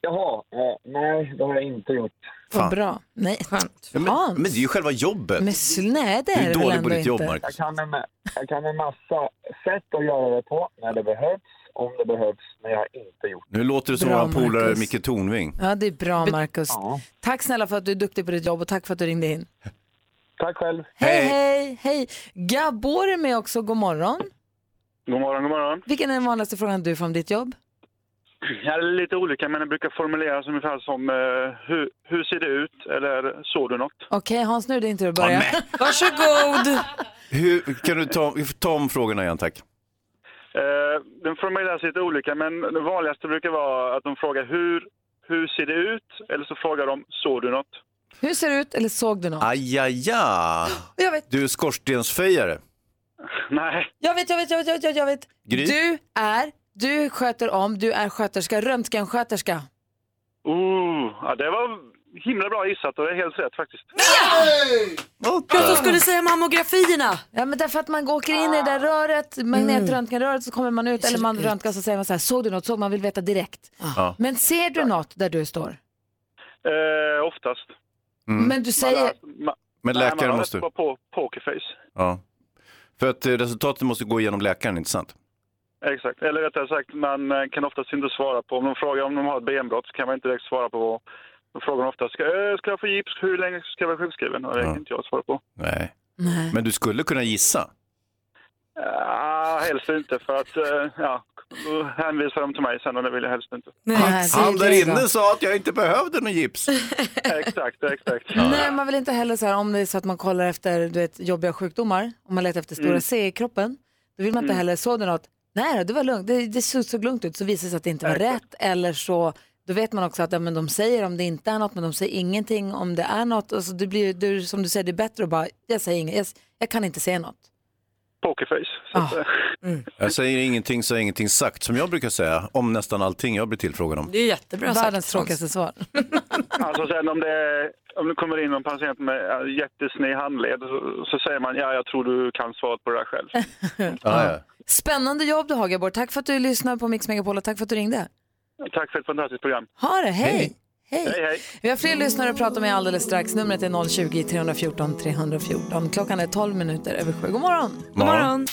Jaha, eh, nej, det har jag inte gjort.
Vad bra. Nej,
Skönt.
Ja, Men,
Hans.
men det är ju själva jobbet.
Men sl- nej, det är
Du är
det väl
dålig på
ändå
ditt jobb,
inte.
Marcus.
Jag kan, en, jag kan en massa sätt att göra det på när det behövs om det behövs, men jag har inte gjort
Nu låter det som
Bra,
vår polare
Marcus.
Micke Tornving.
Ja, det är bra Markus.
Ja.
Tack snälla för att du är duktig på ditt jobb och tack för att du ringde in.
Tack själv.
Hej, hej, hej. Gabor är med också, god morgon.
God morgon, god morgon.
Vilken är den vanligaste frågan du får om ditt jobb?
Ja, det är lite olika, men det brukar formuleras ungefär som eh, hur, hur ser det ut eller såg du något?
Okej Hans, nu är det din tur att börja.
men.
[LAUGHS] Varsågod.
Hur, kan du ta, ta om frågorna igen tack?
Eh, den formuleras lite olika, men det vanligaste brukar vara att de frågar hur, hur ser det ut eller så frågar de såg du något? [LAUGHS]
Hur ser det ut eller såg du något?
Ajaja!
Jag vet.
Du är skorstensfejare.
Nej.
Jag vet, jag vet, jag vet, jag vet, jag vet.
Gry?
Du är, du sköter om, du är sköterska, röntgensköterska.
Oh, ja, det var himla bra gissat och det är helt rätt faktiskt.
Jag trodde du skulle säga mammografierna.
Ja men därför att man åker in i det där
Ah.
röret, magnetröntgenröret, så kommer man ut eller man röntgas och säger man så här, såg du något? Såg man vill veta direkt.
Ja.
Men ser du något där du står?
Eh, oftast.
Men du säger,
Men
Nej,
läkaren
man har
måste-
rätt att vara på pokerface.
Ja. För att eh, resultatet måste gå igenom läkaren, inte sant?
Exakt, eller rättare sagt, man eh, kan oftast inte svara på. Om de frågar om de har ett benbrott så kan man inte direkt svara på. Då frågar de ofta, ska, eh, ska jag få gips? Hur länge ska jag vara sjukskriven? Och det kan inte jag svara på.
Nej. Men du skulle kunna gissa.
Ah, helst inte, för att eh, ja, då hänvisar de till mig sen och det vill jag helst inte.
Nej,
Han
det är
där
det då.
inne sa att jag inte behövde
[LAUGHS]
någon gips.
exakt, exakt.
nej man vill inte heller så här, om det är så att man kollar efter du vet, jobbiga sjukdomar, om man letar efter stora
Mm.
C i kroppen, då vill man inte
Mm.
heller, såg du något? Nej då, det var lugnt, det, det såg, såg lugnt ut, så visar det sig att det inte var rätt eller så, då vet man också att ja, men de säger om det inte är något, men de säger ingenting om det är något. Och så det blir, det, som du säger, det är bättre att bara, jag säger inget, jag, jag kan inte säga något.
Pokerface. Så att, eh,
Jag säger ingenting så är ingenting sagt, som jag brukar säga om nästan allting jag blir tillfrågad om.
Det är jättebra
Världens tråkigaste svar.
Alltså sen om det, om det kommer in någon patient med eh, jättesned handled så, så säger man ja, jag tror du kan svaret på det här själv.
ja.
Spännande jobb du har Gabor, tack för att du lyssnar på Mix Megapol och tack för att du ringde.
Tack för ett fantastiskt program.
Ha det, hej!
Hej.
Hej.
Hej, hej.
Vi har fler lyssnare att prata med alldeles strax. Numret är 020-314 314. Klockan är 12 minuter över sju. God morgon!
God morgon.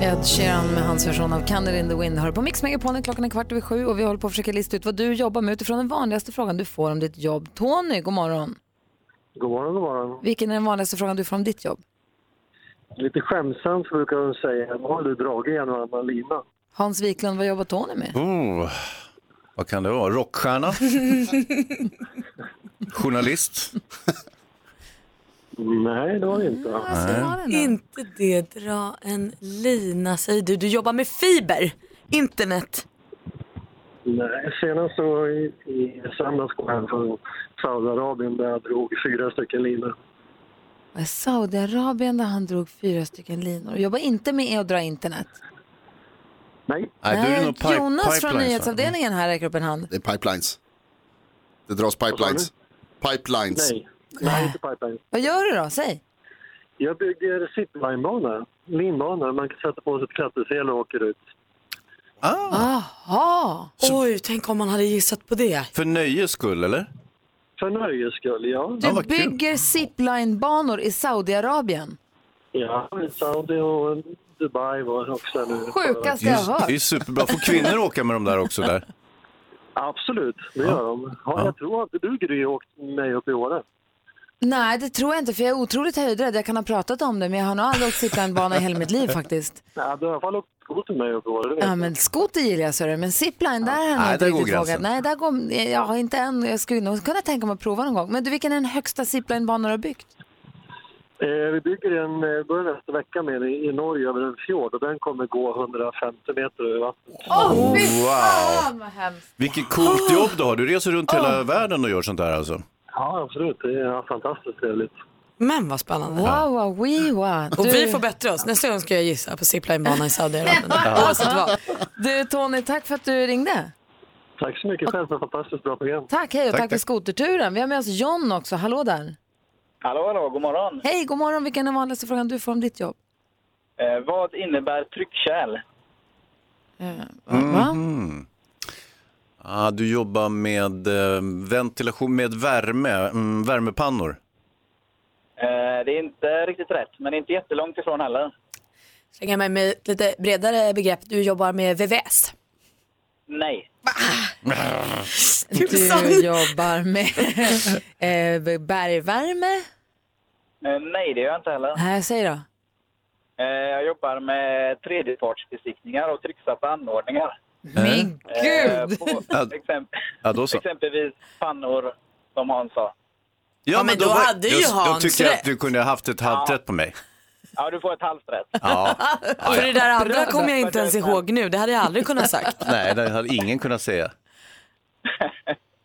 Ed Sheeran med hans version av Candle in the Wind hör på Mix Megapolen. Klockan är kvart över sju och vi håller på att försöka lista ut vad du jobbar med utifrån den vanligaste frågan du får om ditt jobb. Tony, god morgon!
God morgon, god morgon.
Vilken är den vanligaste frågan du får om ditt jobb?
Lite skämtsamt brukar de säga, vad har du dragit genom arma lina?
Hans Wiklund, vad jobbar Tony
[LAUGHS]
med?
Oh, vad kan det vara?
[LAUGHS]
Rockstjärna? Journalist?
Nej, det var det inte.
Mm,
Inte det dra en lina säger du. Du jobbar med fiber, internet.
Nej, senast så var jag i, i söndags kom jag hem från Saudiarabien där jag drog fyra stycken linor.
Vad är Saudiarabien där han drog fyra stycken linor. Jobbar inte med att dra internet. Eh,
Nej.
Nej, du är nog pipe-
Jonas från
pipelines, va?
nyhetsavdelningen här räcker upp en hand.
Det är pipelines. Det dras pipelines. Pipelines.
Nej, nej inte pipeline.
Vad gör du då? Säg.
Jag bygger zipline-bana, linbana. Man kan sätta på sig ett klättersel och åker ut.
Ah.
Aha.
Oj, tänk om man hade gissat på det.
För nöjes skull, eller?
För nöjes skull, ja.
Du bygger zipline-banor i Saudiarabien.
Ja, Saudi och Dubai var också nu.
Sjukaste jag
Just,
har
det är
hört.
superbra. Får kvinnor åka med de där också? Där?
Absolut, det gör de. Ja, jag tror att du Gry åkt mig upp i Åre.
Nej, det tror jag inte för jag är otroligt höjdrädd. Jag kan ha pratat om det men jag har nog aldrig åkt zipline-bana i hela mitt liv
[LAUGHS]
faktiskt.
Ja, du har i alla fall åkt skoter med mig upp i Åre. det vet
Ja
jag.
men skoter gillar jag Sören, men zipline där har jag nog
Nej,
inte
där går
riktigt vågat.
gränsen.
Nej, där går, jag har inte än, jag skulle nog kunna tänka mig att prova någon gång. Men du, vilken är den högsta zipline-banan du har byggt?
Eh, vi bygger en, eh, börjar nästa vecka med den i Norge över en fjord och den kommer gå 150 meter över vattnet.
Oh, wow!
vad hemskt.
Vilket coolt jobb du har. Du reser runt hela världen och gör sånt där alltså.
Ja, absolut. Det är fantastiskt trevligt.
Men vad spännande.
Wow, wow, wee, wow.
Och
Du-
vi får bättre oss. Nästa gång ska jag gissa
[LAUGHS]
på ziplinebana i Saudiarabien. Oavsett vad.
Du Tony, tack för att du ringde.
Tack så
[LAUGHS]
mycket själv för ett fantastiskt bra program.
Tack, hej och tack,
Tack,
för
tack.
skoterturen. Vi har med oss John också, hallå där.
Hallå, hallå, god morgon.
Hej, god morgon. Vilken är den vanligaste frågan du får om ditt
[LAUGHS]
jobb?
Eh, vad innebär tryckkärl?
Eh,
Mhm. Ah, du jobbar med eh, ventilation, med värme, mm, värmepannor.
Eh, det är inte riktigt rätt, men inte jättelångt ifrån heller.
Slänga mig med ett lite bredare begrepp. Du jobbar med VVS.
Nej.
Du jobbar med
[LAUGHS]
eh, bergvärme.
Eh, Nej, det gör jag inte heller.
Nej, säg då.
Eh, Jag jobbar med tredjepartsbesiktningar och trycksatta anordningar.
Min
Eh, på
Ja.
exempel,
Ja, då så.
Exempelvis pannor, som Hans sa.
Ja,
men då hade ju
jag, Jag
Hans
tycker att
rätt.
du kunde ha haft ett halvt rätt på mig.
Ja, du får ett halvt rätt.
Ja.
För det där andra kommer jag inte ens ihåg nu. Det hade jag aldrig kunnat sagt.
Nej, det hade ingen kunnat säga.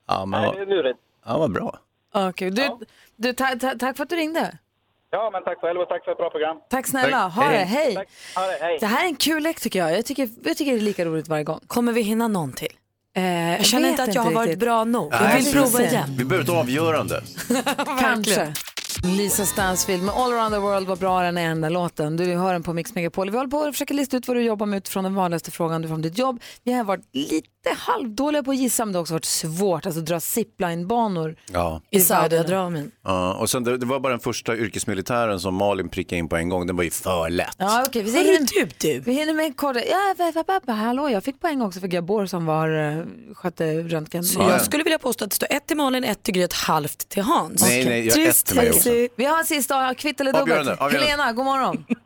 Ja, men
Nej, det är
vad,
lurigt.
ja, vad bra.
Ah, kul. Du, du, ta, ta, tack för att du ringde.
Ja, men tack själv och tack för ett bra program.
Tack snälla.
Tack.
Ha
Hej.
det. Hej.
Tack. Ha det, hej.
Det här är en kul lek tycker jag. Jag tycker, jag tycker det är lika roligt varje gång.
Kommer vi hinna någon till?
Eh, jag
Jag känner
vet
inte att jag har varit
riktigt.
bra nog. Jag
Nej,
vill
precis.
prova igen.
Vi behöver ett avgörande.
Kanske. Lisa Stansfield med All around the world, vad bra den är den där låten. Du hör den på Mix Megapol. Vi håller på att försöka lista ut vad du jobbar med utifrån den vanligaste frågan du får om ditt jobb. Vi har varit lite halvdåliga på att gissa men det har också varit svårt, alltså dra ziplinebanor.
Ja.
I Saudiarabien.
Ja, och sen det, det var bara den första yrkesmilitären som Malin prickade in på en gång. Den var ju för lätt.
Ja, okej. Vi, hinner, du, du. vi hinner med en kort... Ja, va- va- va- va- hallå, jag fick poäng också för Gabor som var, eh, skötte röntgen.
Så jag skulle vilja påstå att det står ett till Malin, ett till Gry, ett halvt till Hans.
Nej, nej, jag har ett till mig också.
Vi har en sista, kvitt eller
Avgörande,
dubbelt.
avgörande.
Helena, god morgon.
Hej,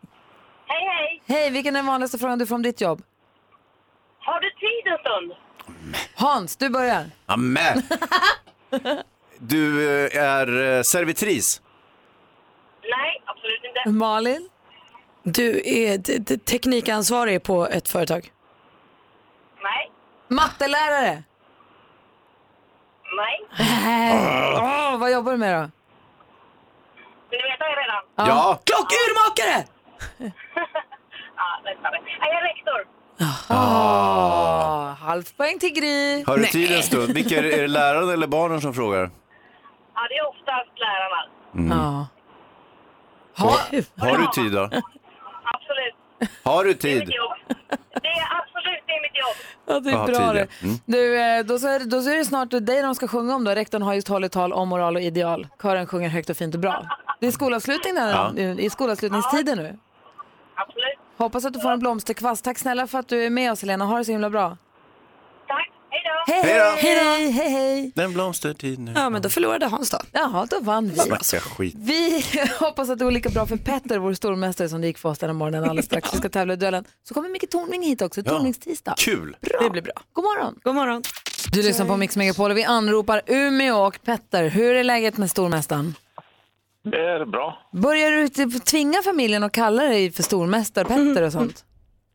hej.
Hej, vilken är den vanligaste frågan du får om ditt jobb?
Har du tid en stund?
Hans, du börjar.
[LAUGHS]
Amen. Du eh, är eh, servitris.
Nej, absolut inte.
Malin?
Du är d- d- teknikansvarig på ett företag.
Nej,
Mattelärare?
nej.
Äh, åh, vad jobbar du med då?
Vill du veta det redan?
Ja.
Klockurmakare!
Ja, nästan. Nej, Jag är rektor.
Ah. Halvt poäng till Gry.
Har du tid en stund? Vilka är, det- är det läraren eller barnen som frågar? Mm.
Ja, det är oftast lärarna.
Ja.
Har du tid då?
Absolut.
Har du
Det är mitt
tid?
jobb. Det är absolut det är mitt jobb.
Ja, det är
Ja,
bra det.
tidigare. Mm.
Du, eh, då, så är, då så är det snart dig de ska sjunga om då. Rektorn har just hållit tal om moral och ideal. Kören sjunger högt och fint och bra. Det är skolavslutning där,
Ja.
eh, i skolavslutningstiden nu.
Absolut.
Hoppas att du får en blomsterkvast. Tack snälla för att du är med oss Helena. Ha det så himla bra.
Tack. Hej då.
Hej,
Hej då.
hej, hej, hej.
Den blomstertid nu.
Ja, men då förlorade Hans då.
Jaha, då vann vi.
Snacka skit.
Vi [LAUGHS] hoppas att det går lika bra för Petter, vår stormästare som det gick för oss den här morgonen alldeles strax. Vi ska tävla i duellen. Så kommer Micke Tornving hit också, Tornvingstisdag.
Kul!
Bra.
Det blir bra.
God morgon!
God morgon!
Du lyssnar på Mix Megapol och vi anropar Umeå och Petter. Hur är läget med stormästaren?
Det är bra.
Börjar du typ tvinga familjen att kalla dig för stormästare, Petter och sånt?
Mm.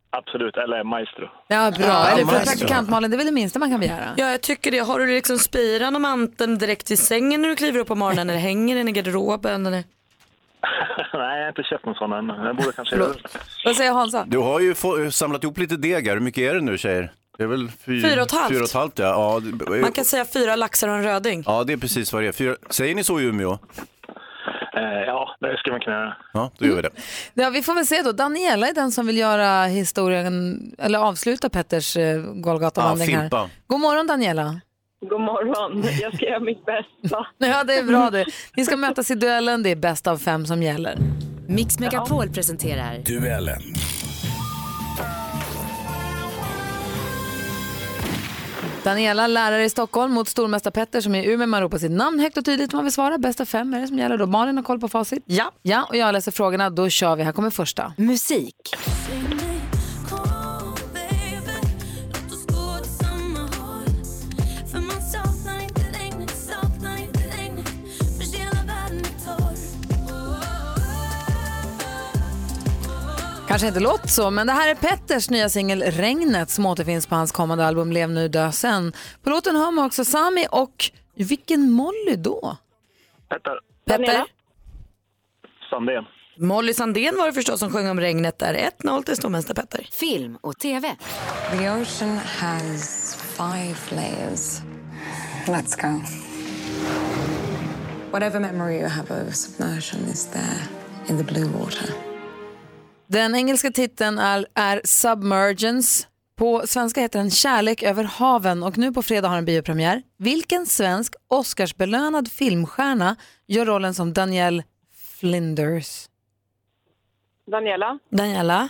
Absolut, eller maestro.
Ja, bra.
Ja,
Eller för
maestro.
praktikantmalen, det är väl det minsta man kan begära?
Ja, jag tycker det. Har du liksom spiran och manteln direkt i sängen när du kliver upp på morgonen? Eller hänger den i garderoben? Eller?
[LAUGHS] Nej, jag har inte köpt någon sån än. Jag borde kanske göra det.
Vad säger Hansa?
Du har ju få, samlat ihop lite deg här. Hur mycket är det nu tjejer? Det är väl fy,
Fyra och ett halvt.
Fyra och ett halvt, ja. Ja, det-
Man kan säga fyra laxar och en röding.
ja, det är precis vad det är. Fyra, säger ni så i Umeå?
Eh, ja, det ska man kunna göra.
Ja, då gör vi det.
Ja, vi får väl se då. Daniela är den som vill göra historien, eller avsluta Petters eh, Golgatavandring
Ja,
här.
fimpa.
God morgon Daniela.
God morgon. Jag ska göra mitt bästa.
[LAUGHS] Ja, det är bra det. Ni ska mötas i duellen, det är bäst av fem som gäller.
Mix Megapol presenterar
Duellen.
Daniela, lärare i Stockholm mot stormästare Petter som är i Umeå. Man ropar sitt namn högt och tydligt om man vill svara. Bästa fem är det som gäller då. Malin har koll på facit.
Ja.
Ja, och jag läser frågorna. Då kör vi. Här kommer första.
musik.
Kanske inte låt så, men det här är Petters nya singel Regnet som återfinns på hans kommande album Lev nu, dö sen. På låten hör man också Sami och vilken Molly då?
Petter
Petter?
Sandén.
Molly Sandén var det förstås som sjöng om regnet där. 1-0 till stormästare Petter.
Film och tv.
The ocean has five layers. Let's go. Whatever memory you have of submersion is there in the blue water.
Den engelska titeln är, är Submergence. På svenska heter den Kärlek över haven och nu på fredag har den biopremiär. Vilken svensk Oscarsbelönad filmstjärna gör rollen som Danielle Flinders?
Daniela?
Daniela?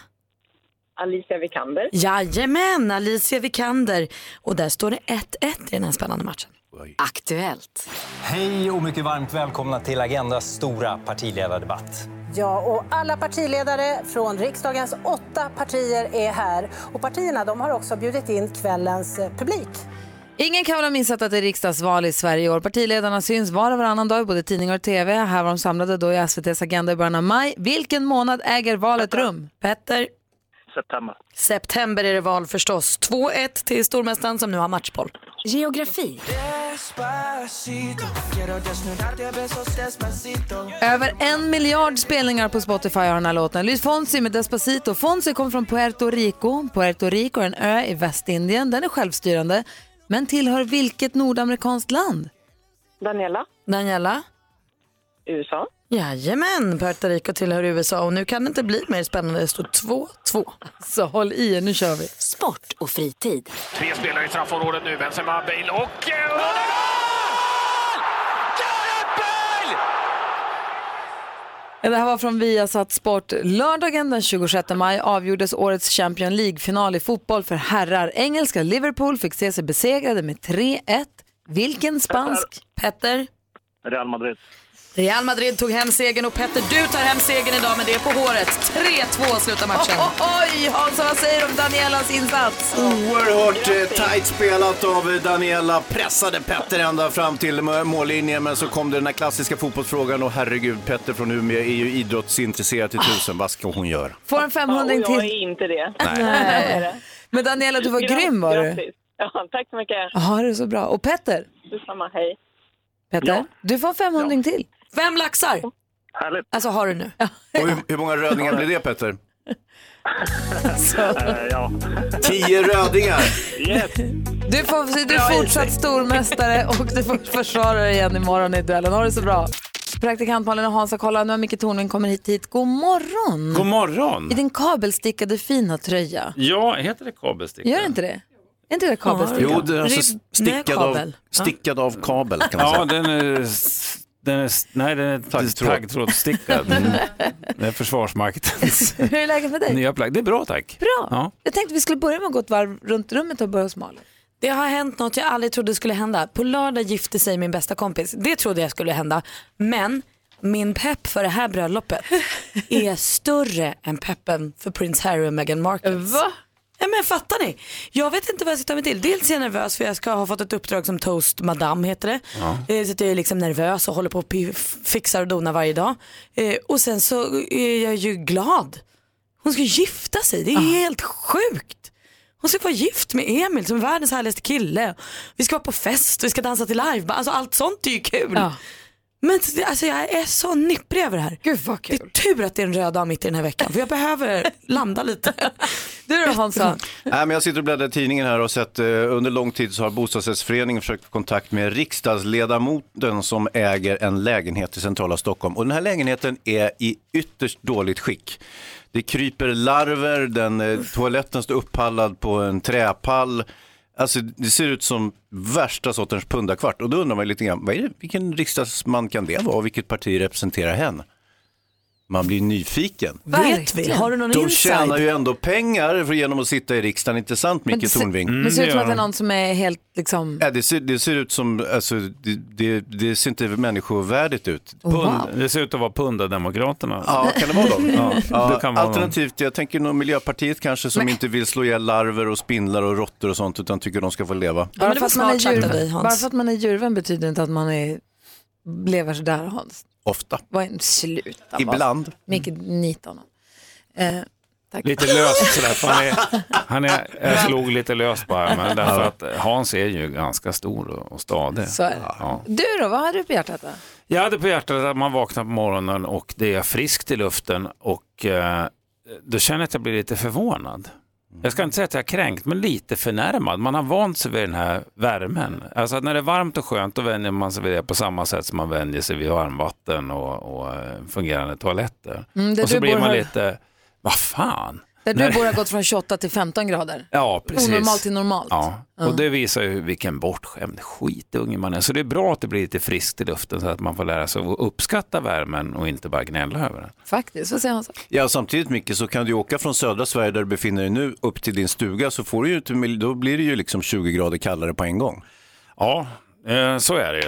Alicia Vikander.
Jajamän, Alicia Vikander. Och där står det 1-1 i den här spännande matchen.
Aktuellt.
Hej och mycket varmt välkomna till Agendas stora partiledardebatt.
Ja, och alla partiledare från riksdagens åtta partier är här. Och partierna de har också bjudit in kvällens eh, publik.
Ingen kan väl ha missat att det är riksdagsval i Sverige i år. Partiledarna syns var och varannan dag i både tidningar och tv. Här var de samlade då i SVTs Agenda i början av maj. Vilken månad äger valet rum? Petter?
September.
September är det val förstås. 2-1 till stormästaren som nu har matchboll.
Geografi.
Över en miljard spelningar på Spotify har den här låten. Luis Fonsi med Despacito. Fonsi kom från Puerto Rico. Puerto Rico är en ö i Västindien. Den är självstyrande. Men tillhör vilket nordamerikanskt land?
Daniela,
Daniela?
USA.
Jajamän, Puerto Rico tillhör USA och nu kan det inte bli mer spännande. Det står 2-2.
Så håll i er, nu kör vi.
Sport och fritid.
Tre spelare i straffområdet nu. Benzema, Bale och... eh,
Det här var från Viasat Sport. Lördagen den 26 maj avgjordes årets Champions League-final i fotboll för herrar. Engelska Liverpool fick se sig besegrade med 3-1. Vilken spansk? Petter?
Real Madrid.
Real Madrid tog hem segern och Petter, du tar hem segern idag men det är på håret. 3-2 slutar matchen.
[LAUGHS] Oj, Hansa, vad säger du om Danielas insats?
Oerhört eh, tajt spelat av eh, Daniela. Pressade Petter ända fram till må- mållinjen, men så kom det den här klassiska fotbollsfrågan och herregud, Petter från Umeå är ju idrottsintresserad till tusen. Vad ska hon göra?
Får en 500
Ja, och jag
till.
är inte det.
Nej.
[LAUGHS] Nej. Men Daniela, du var
Grattis,
grym var du.
grattis. Ja, tack så mycket.
Ja, det är så bra. Och Petter?
Detsamma, hej.
Petter, du får en 500 till.
Fem laxar!
Härligt.
Alltså har du nu.
Och hur, hur många rödingar blir det Petter?
[LAUGHS] Eh, ja.
Tio rödingar!
Yes.
Du, får, du är fortsatt stormästare och du får försvara dig igen imorgon i duellen. Ha det så bra. Praktikant Malin och Hansa, kolla nu har Micke Tornving kommer hit, hit. God morgon!
God morgon!
I din kabelstickade fina tröja.
Ja, heter det kabelsticka?
Gör inte det? Är inte det kabelsticka?
Jo, det är alltså
Ribb-
stickad
Nej,
av,
kabel. Ja.
stickad av kabel kan man
Ja,
säga.
den är, s- den är, s- nej, den är taggtråd.
[LAUGHS]
taggtrådsstickad. Mm. Det är
[LAUGHS]
Försvarsmaktens
Hur är läget med dig?
nya plagg. Det är bra tack.
Bra.
Ja.
Jag tänkte vi skulle börja med att gå ett varv runt rummet och börja hos Malin.
Det har hänt något jag aldrig trodde skulle hända. På lördag gifte sig min bästa kompis. Det trodde jag skulle hända. Men min pepp för det
[LAUGHS]
här bröllopet är större än peppen för Prince Harry och Meghan Markle. Va? Ja, men fattar ni? Jag vet inte vad jag ska ta mig till. Dels är jag nervös för jag ska ha fått ett uppdrag som toast madame heter det.
Ja.
Eh, Så att jag är liksom nervös och håller på och pi- f- fixar och donar varje dag. Eh, Och sen så är jag ju glad. Hon ska gifta sig,
Ah.
det är helt sjukt. Hon ska vara gift med Emil som är världens härligaste kille. Vi ska vara på fest, vi ska dansa till live, alltså allt sånt är ju kul. Men alltså, jag är så nipprig över det här.
Gud vad kul.
Det är tur att det är en röd dag mitt i den här veckan för jag behöver landa lite.
Du då Hansa?
Nej, men jag sitter och bläddrar i tidningen här och sett eh, under lång tid så har bostadsrättsföreningen försökt få kontakt med riksdagsledamoten som äger en lägenhet i centrala Stockholm. Och den här lägenheten är i ytterst dåligt skick. Det kryper larver, den, eh, toaletten står upphallad på en träpall. Alltså det ser ut som värsta sortens pundakvart. Och då undrar man lite grann, vad är det, vilken riksdagsman kan det vara och vilket parti representerar hen? Man blir nyfiken.
Vet vi? Har du någon
De
inside?
tjänar ju ändå pengar för genom att sitta i riksdagen, inte sant
Men
Micke
ser-
Tornving? Mm,
Men det ser ut som att det är någon som är helt liksom...
Ja, det, ser, det ser ut som, alltså, det, det, det ser inte människovärdigt ut.
Oh,
Pund, det ser ut att vara Pundademokraterna.
Ja, kan det vara dem?
[LAUGHS]
Ja, det kan vara dem.
Alternativt, jag tänker nog Miljöpartiet kanske som inte vill slå ihjäl larver och spindlar och råttor och sånt utan tycker de ska få leva.
Bara, för att man är
smart sagt av
djur,
dig, Hans.
bara för att man är djurvän betyder inte att man är, lever sådär Hans.
Ofta.
Vad är, sluta. bara.
Ibland.
Micke, nita honom. Eh,
Lite löst sådär, för han är, [LAUGHS] han är, jag slog lite löst bara, men därför att Hans är ju ganska stor och och stadig.
Så är det.
Ja.
[LAUGHS] du då, vad hade du på hjärtat? Då?
Jag hade på hjärtat att man vaknar på morgonen och det är friskt i luften och eh, då känner jag att jag blir lite förvånad.
Mm.
Jag ska inte säga att jag är kränkt, men lite förnärmad. Man har vant sig vid den här värmen. Alltså att när det är varmt och skönt, då vänjer man sig vid det på samma sätt som man vänjer sig vid varmvatten och, och eh, fungerande toaletter.
Mm, där
och så
du
blir
bor
man
har-
lite, vad fan?
Där du
När-
bor har gått från 28 till 15 grader.
Ja, precis.
Onormalt till normalt.
Ja,
Ja.
och det visar ju vilken bortskämd skitunge man är. Så det är bra att det blir lite friskt i luften så att man får lära sig att uppskatta värmen och inte bara gnälla över den.
Faktiskt, vad säger han?
Ja, samtidigt Micke så kan du ju åka från södra Sverige där du befinner dig nu upp till din stuga så får du ju, inte- då blir det ju liksom 20 grader kallare på en gång.
Ja, eh, så är det ju.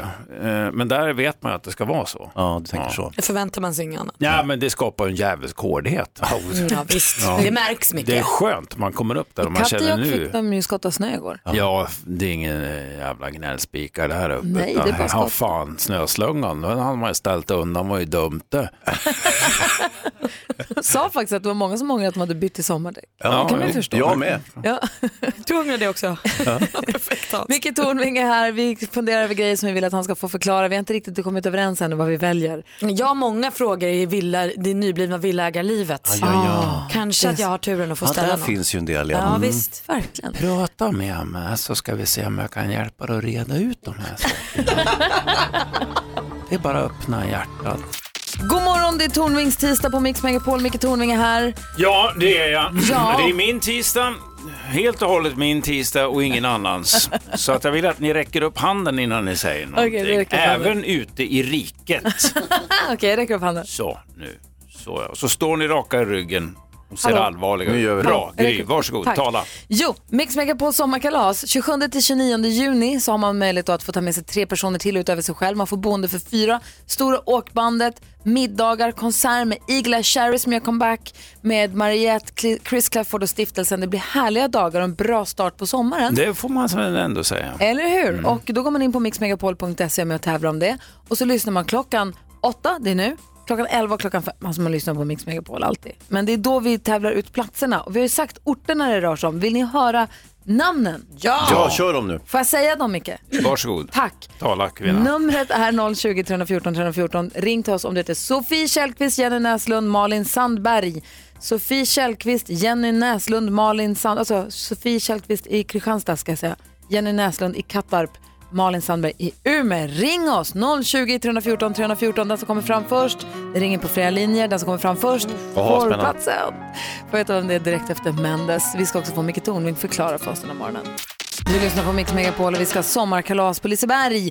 Eh, Men där vet man ju att det ska vara så.
Ja, du tänker så.
Det förväntar man sig inget annat.
Ja, men det skapar ju en jävligt hårdhet.
Ja, visst. Det märks mycket.
Det är skönt, man kommer upp där och man
Katja
känner
och
nu.
fick de ju skotta snö igår. [LAUGHS]
Ja, det är ingen eh, jävla gnällspikar det här uppe.
Nej,
utan
det är bara
Ja,
skott.
fan, snöslungan, den hade man ju ställt undan, var ju dumt det.
sa faktiskt att det var många som ångrade att de hade bytt till sommardäck.
Ja,
det kan man ju
jag-
förstå.
jag med. [LAUGHS]
Ja.
Du ångrar det också?
Ja.
Micke Tornving är här. Vi funderar över grejer som vi vill att han ska få förklara. Vi har inte riktigt kommit överens ännu vad vi väljer.
Jag har många frågor i villa, det nyblivna villaägarlivet.
Aj, aj, aj. Ah,
Kanske att jag har turen att få
Ja,
ställa
där
någon.
finns ju en del
Ja,
Mm.
visst.
Verkligen.
Prata med mig så ska vi se om jag kan hjälpa dig att reda ut de här sakerna.
[LAUGHS]
det är bara att öppna hjärtat.
God morgon, det är Tornvings tisdag på Mix Megapol. Micke Tornving är här. [LAUGHS]
Ja, det är jag.
Ja.
Det är min tisdag. Helt och hållet min tisdag och ingen
[LAUGHS]
annans. Så att jag vill att ni räcker upp handen innan ni säger någonting.
Okej, du räcker upp handen.
Även ute i riket.
Okej, okay, räcker upp handen.
Så, nu. Så, ja. så står ni raka i ryggen och ser
Hallå.
allvarliga
Nu gör vi det.
Bra,
Ja,
Gry. Varsågod,
Tack.
tala.
Jo, Mix Megapol sommarkalas. 27-29 juni så har man möjlighet då att få ta med sig tre personer till utöver sig själv. Man får boende för fyra. Stora åkbandet, middagar, konsert med Igla Cherry som gör comeback, med Mariette, Cl- Chris Clafford och stiftelsen. Det blir härliga dagar och en bra start på sommaren.
Det får man väl ändå säga. Mm.
Eller hur? Och då går man in på mixmegapol.se med och tävlar om det. Och så lyssnar man klockan åtta, det är nu, klockan elva och klockan fem. Alltså man lyssnar på Mix Megapol alltid. Men det är då vi tävlar ut platserna. Och vi har ju sagt orterna det rör sig om. Vill ni höra namnen? Ja!
Ja, kör dem nu.
Får jag säga dem Micke?
Varsågod.
Tack.
Tala kvinna.
Numret är 020 314 314. Ring till oss om du heter Sofie Källqvist, Jenny Näslund, Malin Sandberg. Sofie Källqvist, Jenny Näslund, Malin Sandberg. Alltså Sofie Källqvist i Kristianstad ska jag säga. Jenny Näslund i Kattarp. Malin Sandberg i Umeå. Ring oss! 020 314 314. Den som kommer fram först. Det ringer på flera linjer. Den som kommer fram först
Jaha, spännande.
platsen. Får veta vem det är direkt efter Mendes. Vi ska också få Micke Tornving förklara för oss den här morgonen. Du lyssnar på Mix Megapol och vi ska ha sommarkalas på Liseberg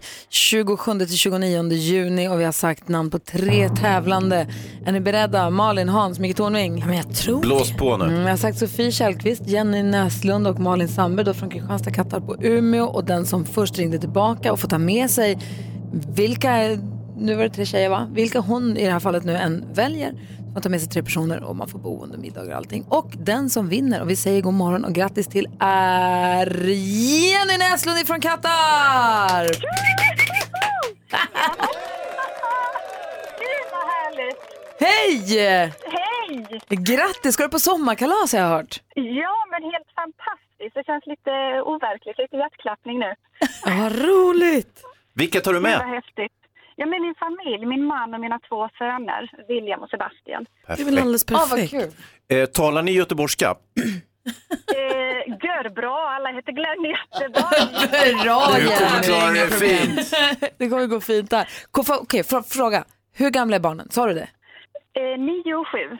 27-29 juni och vi har sagt namn på tre tävlande. Är ni beredda? Malin, Hans, Micke Tornving? men jag tror
Blås på nu.
Mm, jag har sagt Sofie Källqvist, Jenny Näslund och Malin Sandberg då från Kristianstad, Kattarp på Umeå och den som först ringde tillbaka och får ta med sig vilka, nu var det tre tjejer va? Vilka hon i det här fallet nu än väljer. Man tar med sig tre personer och man får boende, middagar och allting. Och den som vinner, och vi säger god morgon och grattis till är Jenny Näslund från Kattarp!
Gud vad härligt!
Hej!
Hej!
Grattis, ska du på sommarkalas har jag hört?
Ja, men helt fantastiskt. Det känns lite overkligt. Lite hjärtklappning nu.
Vad roligt!
Vilka tar du
Det var
med?
häftigt. Ja, med min familj, min man och mina två söner, William och Sebastian.
Perfekt. Det är väl alldeles perfekt.
Ja, vad kul.
Eh, talar ni göteborgska?
[LAUGHS] Eh, gör bra, alla heter Glenn
[LAUGHS]
jättebra.
Bra
Du
Jenny!
kommer klara
det är
dig
inga problem.
fint.
[LAUGHS] Det kommer gå fint där. Ko- fa- Okej, fr- fråga. Hur gamla är barnen? Sa du det?
Eh, nio och sju.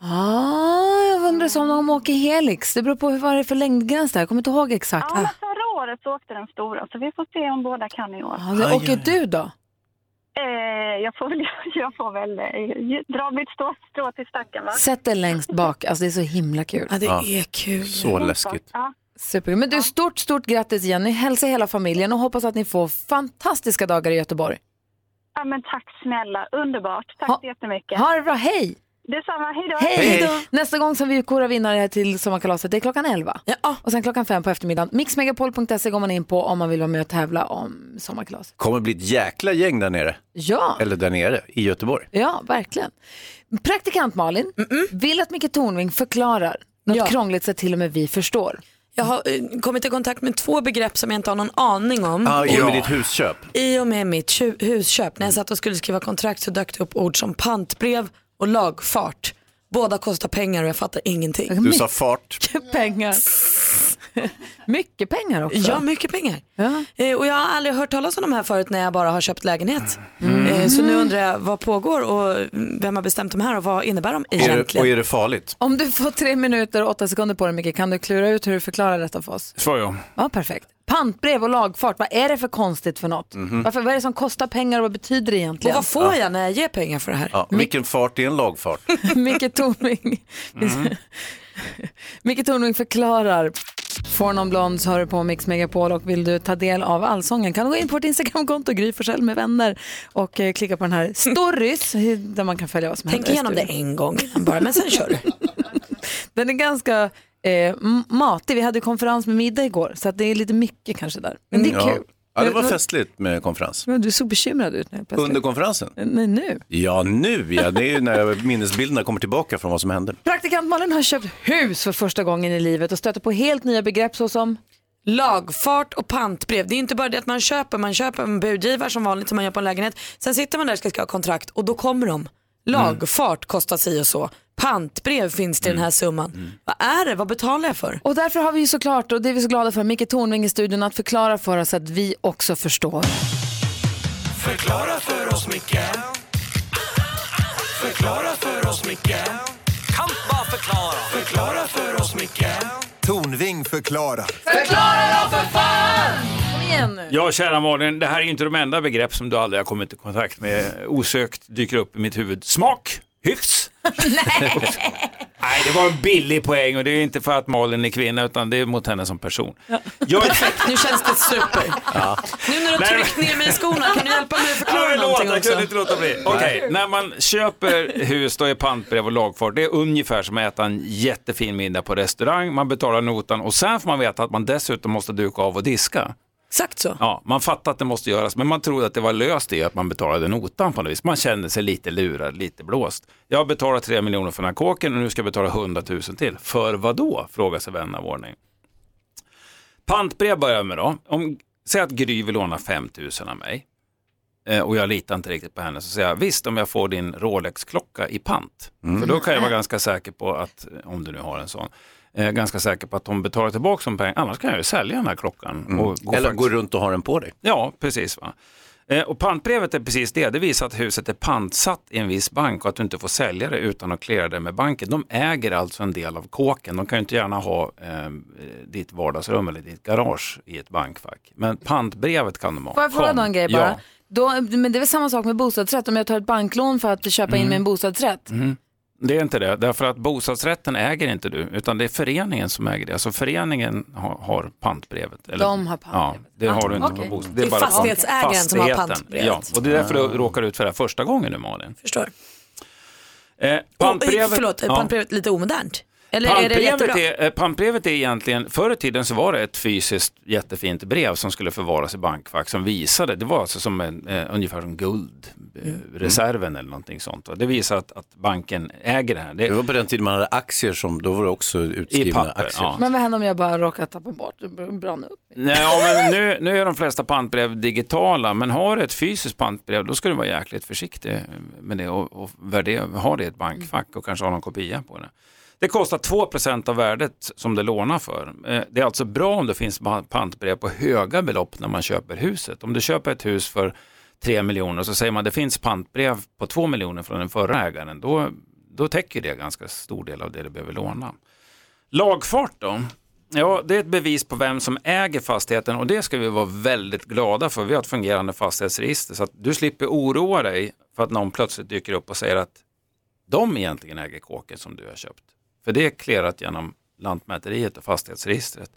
Ah, jag undrar så om de åker helix. Det beror på hur- vad det är för längdgräns där. Jag kommer inte ihåg exakt.
Ja, men
Ah.
förra året så åkte den stora, så vi får se om båda kan i år.
Ja, det- Ah, åker du då?
Eh, jag får väl, [LAUGHS] jag får väl eh, dra mitt strå, strå till stacken, va?
Sätt dig längst bak. Alltså, det är så himla kul.
Ja, det Ja. är kul.
Så läskigt.
Ja.
Superkul. Men du, stort, stort grattis Jenny. Hälsa hela familjen och hoppas att ni får fantastiska dagar i Göteborg.
ja, men tack snälla. Underbart. Tack så jättemycket.
Ha det bra. Hej!
Detsamma. Hej då.
Hej! Nästa gång som vi korar vinnare här till sommarkalaset, det är klockan 11. Och sen klockan 5 på eftermiddagen. Mixmegapol.se går man in på om man vill vara med och tävla om sommarkalaset.
Kommer bli ett jäkla gäng där nere.
Ja.
Eller där nere, i Göteborg.
Ja, verkligen. Praktikant Malin vill att Micke Tornving förklarar något krångligt så att till och med vi förstår.
Jag har eh, kommit i kontakt med två begrepp som jag inte har någon aning
Mm.
om.
Ah, I och med ditt husköp.
I och med mitt tju- husköp, när jag satt och skulle skriva kontrakt så dök det upp ord som pantbrev och lagfart. Båda kostar pengar och jag fattar ingenting.
Du sa fart.
pengar. mycket pengar också.
Ja, mycket pengar. Eh, och jag har aldrig hört talas om de här förut när jag bara har köpt lägenhet.
Mm.
Eh, så nu undrar jag vad pågår och vem har bestämt de här och vad innebär de
Är det, och
egentligen?
är det farligt?
Om du får tre minuter och åtta sekunder på dig Micke, kan du klura ut hur du förklarar detta för oss?
Svar ja.
Ja, perfekt. Pantbrev och lagfart, vad är det för konstigt för något?
Mhm.
Varför, vad är det som kostar pengar och vad betyder det egentligen?
Och vad får Ja.
jag när jag ger pengar för det här?
Ja, vilken fart är en lagfart?
[LAUGHS] Micke Tornving.
Mhm.
[LAUGHS] Micke Tornving förklarar. Får någon blonds hör du på Mix Megapol och vill du ta del av allsången kan du gå in på vårt Instagramkonto Gry Forssell med vänner och eh, klicka på den här stories där man kan följa vad som
Tänk
händer i
igenom det
studion.
en gång bara, men sen kör du.
Den är ganska eh, m- matig. Vi hade konferens med middag igår så att det är lite mycket kanske där. Men det är
Mm. ja.
kul.
Ja, det var
Men-
festligt med konferens.
Men du såg bekymrad ut nu plötsligt.
Under konferensen?
Eh, Nej, nu.
Ja, nu ja. Det är ju när minnesbilderna kommer tillbaka från vad som hände.
Praktikant Malin har köpt hus för första gången i livet och stöter på helt nya begrepp såsom
Lagfart och pantbrev. Det är inte bara det att man köper, man köper en budgivare som vanligt som man gör på en lägenhet. Sen sitter man där och ska skriva kontrakt och då kommer de. Lagfart kostar si och så. Pantbrev finns det i den här summan. Vad är det? Vad betalar jag för?
Och därför har vi ju såklart, och det är vi så glada för, Micke Tornving i studion att förklara för oss att vi också förstår.
Förklara för oss, Micke Förklara för oss, Micke Kan bara förklara Förklara för oss, Micke
Tornving förklarar.
Förklara då för fan! Kom igen nu.
Ja, kära Malin, det här är ju inte de enda begrepp som du aldrig har kommit i kontakt med. Osökt dyker upp i mitt huvud. Smak,
[LAUGHS]
hyfs. Nej, det var en billig poäng och det är inte för att Malin är kvinna utan det är mot henne som person.
Perfekt, nu känns det super.
Ja.
Nu när du har
Nej,
tryckt ner mig i skorna, kan du hjälpa mig att förklara
Ja,
någonting
jag kunde
också?
inte låta bli. Okej, när man köper hus då är pantbrev och lagfart, det är ungefär som att äta en jättefin middag på restaurang, man betalar notan och sen får man veta att man dessutom måste duka av och diska.
Exakt så.
Ja, man fattar att det måste göras, men man trodde att det var löst i att man betalade notan på något vis. Man kände sig lite lurad, lite blåst. Jag har betalat 3 miljoner för den här kåken och nu ska jag betala 100 000 till. För vad då? Frågar sig vän av ordning. Pantbrev börjar jag med då. Om, säg att Gry vill låna 5 000 av mig eh, och jag litar inte riktigt på henne så säger jag visst om jag får din Rolex-klocka i pant.
Mm.
För då kan jag vara ganska säker på att, om du nu har en sån, eh, ganska säker på att hon betalar tillbaka de pengarna. Annars kan jag ju sälja den här klockan. Och gå
Mm. Eller
faktiskt-
gå runt och ha den på dig.
Ja, precis. Va? Eh, Och pantbrevet är precis det. Det visar att huset är pantsatt i en viss bank och att du inte får sälja det utan att klära det med banken. De äger alltså en del av kåken. De kan ju inte gärna ha eh, ditt vardagsrum eller ditt garage i ett bankfack. Men pantbrevet kan de ha.
Får jag fråga
Kom.
då en grej bara?
Ja.
Då, men det är väl samma sak med bostadsrätt, om jag tar ett banklån för att köpa in
Mm.
mig en bostadsrätt.
Mm. Det är inte det, därför att bostadsrätten äger inte du, utan det är föreningen som äger det. Alltså föreningen har, har pantbrevet.
De har pantbrevet.
Ja, det har du inte
Okej.
på bostadsrätt.
Det är fastighetsägaren som har
fastigheten.
pantbrevet.
Ja, och det är därför
Mm.
du råkar ut för det här första gången nu Malin.
Förstår.
Eh, pantbrevet,
Oh, förlåt, är
ja.
pantbrevet lite omodernt? Eller är det
Pantbrevet
jättebra?
är, eh, pantbrevet är egentligen, förr i tiden så var det ett fysiskt jättefint brev som skulle förvaras i bankfack som visade, det var alltså som en, eh, ungefär som guldreserven eller någonting sånt. va. Det visar att, att banken äger det här. Det,
Det var på den tiden man hade aktier som, då var det också utskrivna
I papper,
aktier.
ja.
Men vad händer om jag bara råkar tappa bort, brann upp?
Nej, ja, men nu, nu är de flesta pantbrev digitala, men har du ett fysiskt pantbrev då ska du vara jäkligt försiktig med det och, och värdera, ha det i ett bankfack och kanske ha någon kopia på det. Det kostar 2 av värdet som du lånar för. Eh, Det är alltså bra om det finns pa- pantbrev på höga belopp när man köper huset. Om du köper ett hus för 3 miljoner så säger man det finns pantbrev på 2 miljoner från den förra ägaren. Då, då täcker det ganska stor del av det du behöver låna. Lagfart då? Ja, det är ett bevis på vem som äger fastigheten och det ska vi vara väldigt glada för. Vi har ett fungerande fastighetsregister så att du slipper oroa dig för att någon plötsligt dyker upp och säger att de egentligen äger kåken som du har köpt. För det är klerat genom Lantmäteriet och fastighetsregistret.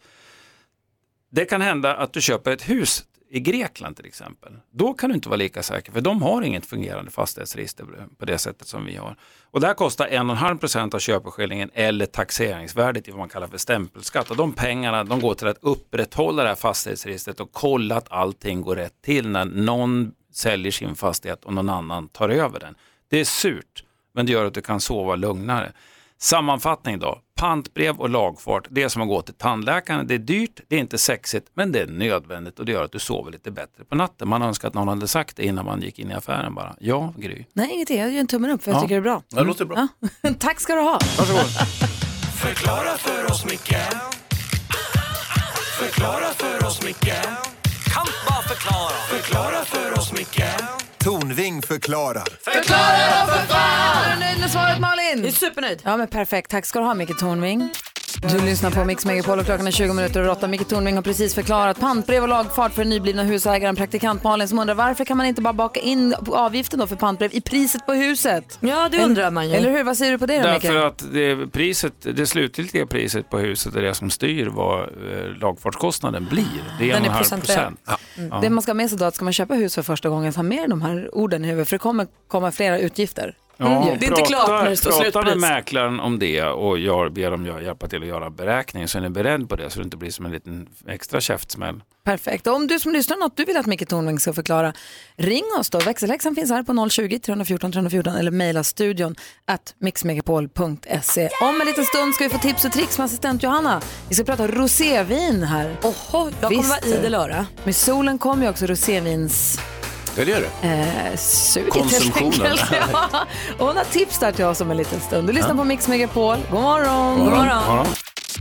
Det kan hända att du köper ett hus i Grekland till exempel. Då kan du inte vara lika säker för de har inget fungerande fastighetsregister på det sättet som vi har. Och det här kostar 1,5 procent av köpeskillingen eller taxeringsvärdet i vad man kallar för stämpelskatt. Och de pengarna de går till att upprätthålla det här fastighetsregistret och kolla att allting går rätt till när någon säljer sin fastighet och någon annan tar över den. Det är surt, men det gör att du kan sova lugnare. Sammanfattning då. Pantbrev och lagfart, det är som att gå till tandläkaren. Det är dyrt, det är inte sexigt, men det är nödvändigt och det gör att du sover lite bättre på natten. Man önskar att någon hade sagt det innan man gick in i affären bara. Ja, Gry.
Nej, ingenting. Jag gör en tummen upp för jag
Ja.
tycker det är bra.
Ja, det låter bra.
[LAUGHS] Ja. Tack ska du ha.
Varsågod.
Förklara för oss, Micke
Förklara för oss, Micke. Kampa förklara. Förklara för oss, Micke. Tornving förklarar.
Förklara då för fan! Är du nöjd med svaret Malin? Jag är supernöjd. Ja men perfekt, tack ska du ha Micke Tornving. Du lyssnar på Mix Megapol och klockan är 20 minuter över 8. Micke Tornving har precis förklarat pantbrev och lagfart för den nyblivna husägaren praktikant Malin som undrar varför kan man inte bara baka in avgiften då för pantbrev i priset på huset? Ja
det undrar man ju.
Eller hur, vad säger du på det då Micke?
Därför att det, priset, det slutgiltiga priset på huset är det som styr vad eh, lagfartskostnaden blir. Det är en
Den är
och en halv
procentuell.
procent. Ja. Ja.
Mm. Det man ska ha med sig då är att ska man köpa hus för första gången ta med de här orden i huvudet för det kommer komma flera utgifter.
Ja,
Mm.
pratar- Pratar med mäklaren om det och jag ber dem gö- hjälpa till att göra en beräkning så är ni beredd på det så det inte blir som en liten extra käftsmäll.
Perfekt. Och om du som lyssnar något du vill att Micke Tornving ska förklara, ring oss då. Växelhäxan finns här på 020-314 314 eller mejla studion at mixmegapol.se. Om en liten stund ska vi få tips och tricks med assistent Johanna. Vi ska prata rosévin här. Oho,
jag kommer vara idel öra.
Med solen kommer ju också rosévins...
Ja, det gör det.
Eh, suget helt
Konsumtionen.
enkelt. [LAUGHS] Ja.
[LAUGHS]
Och hon har tips där till oss om en liten stund. Du lyssnar
Ja.
på Mix Megapol. God morgon.
God morgon. God morgon.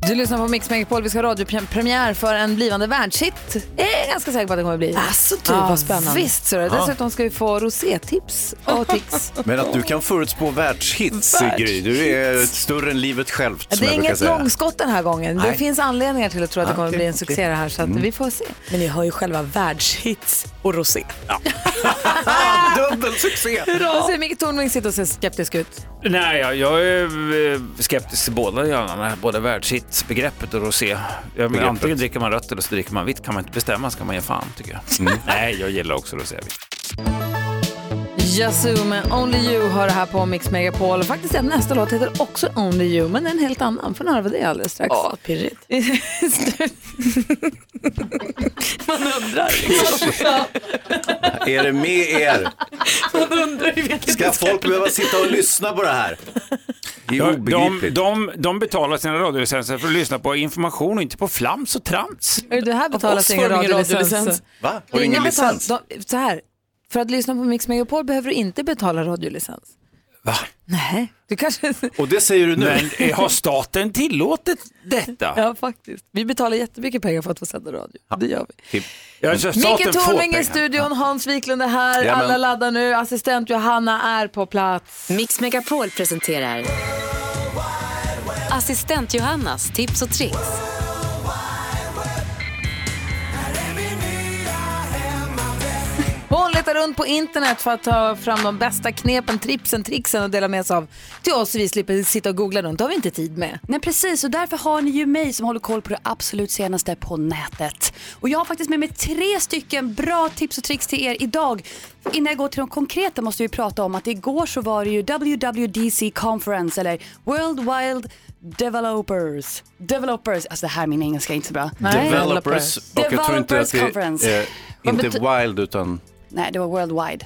Du lyssnar på Mix Megapol. Vi ska ha radiopremiär för en blivande världshit. Jag är ganska säker på att det kommer bli. Alltså
du, vad spännande.
Visst, så är det.
Ja.
Dessutom ska vi få rosétips
[LAUGHS]
och tics.
Men att du kan förutspå världshits,
Eh. Världshits.
Gry, du är större än livet självt.
Det
som
är
jag brukar
inget
säga.
långskott den här gången. Det
Nej.
finns anledningar till att tro att det
Ja,
kommer
okej,
bli en
okej.
succé det här, så att
Mm.
vi får se.
Men ni har ju själva världshits och rosé.
Dubbel succé!
[LAUGHS] Hurra, ser Micke Tornving sitter och ser skeptisk ut.
Nej, jag, jag är eh, skeptisk till båda gärna, både världshitsbegreppet och rosé. Jag menar,
Begreppet.
antingen dricker man rött eller så dricker man vitt. Kan man inte bestämma så kan man ge fan tycker jag.
Mm.
[LAUGHS] Nej, jag gillar också rosévitt.
Yazoo med Only You hör det här på Mix Megapol. Och faktiskt är nästa låt heter också Only You, men en helt annan. Får ni höra vad det är alldeles strax.
Ja, pirrigt.
[LAUGHS]
Man
[LAUGHS]
undrar.
Är det med er?
Man undrar ju vilket
Ska folk behöva sitta och lyssna på det här? Det är
de,
obegripligt.
de, de betalar sina radiolicenser för att lyssna på information och inte på flams och trams.
Är det här betalas
oss
ingen
får de ingen
radiolicens.
radiolicens. Va?
Det är
Och ingen
betal-
licens?
De, så här, för att lyssna på Mix Megapol behöver du inte betala radiolicens. Va? Nej, du kanske...
Och det säger du nu?
Men eh, har staten tillåtit detta?
Ja, faktiskt. Vi betalar jättemycket pengar för att få sända radio. Det gör
vi.
Jag kör staten
Micke Tornving
får
i
pengar.
studion, Hans Wiklund är här,
Jajamän.
alla laddar nu, assistent Johanna är på plats.
Mix Megapol presenterar Assistent Johannas tips och tricks.
Hon letar runt på internet för att ta fram de bästa knepen, tripsen, trixen och dela med sig av till oss så vi slipper sitta och googla runt. Det har vi inte tid med.
Nej precis och därför har ni ju mig som håller koll på det absolut senaste på nätet. Och jag har faktiskt med mig tre stycken bra tips och tricks till er idag. Innan jag går till de konkreta måste vi prata om att igår så var det ju WWDC Conference eller World Wild Developers. Developers, alltså det här min engelska är inte så bra.
Developers, och jag tror inte
Developers
att det
Conference.
är, inte wild utan
Nej det var World Wide.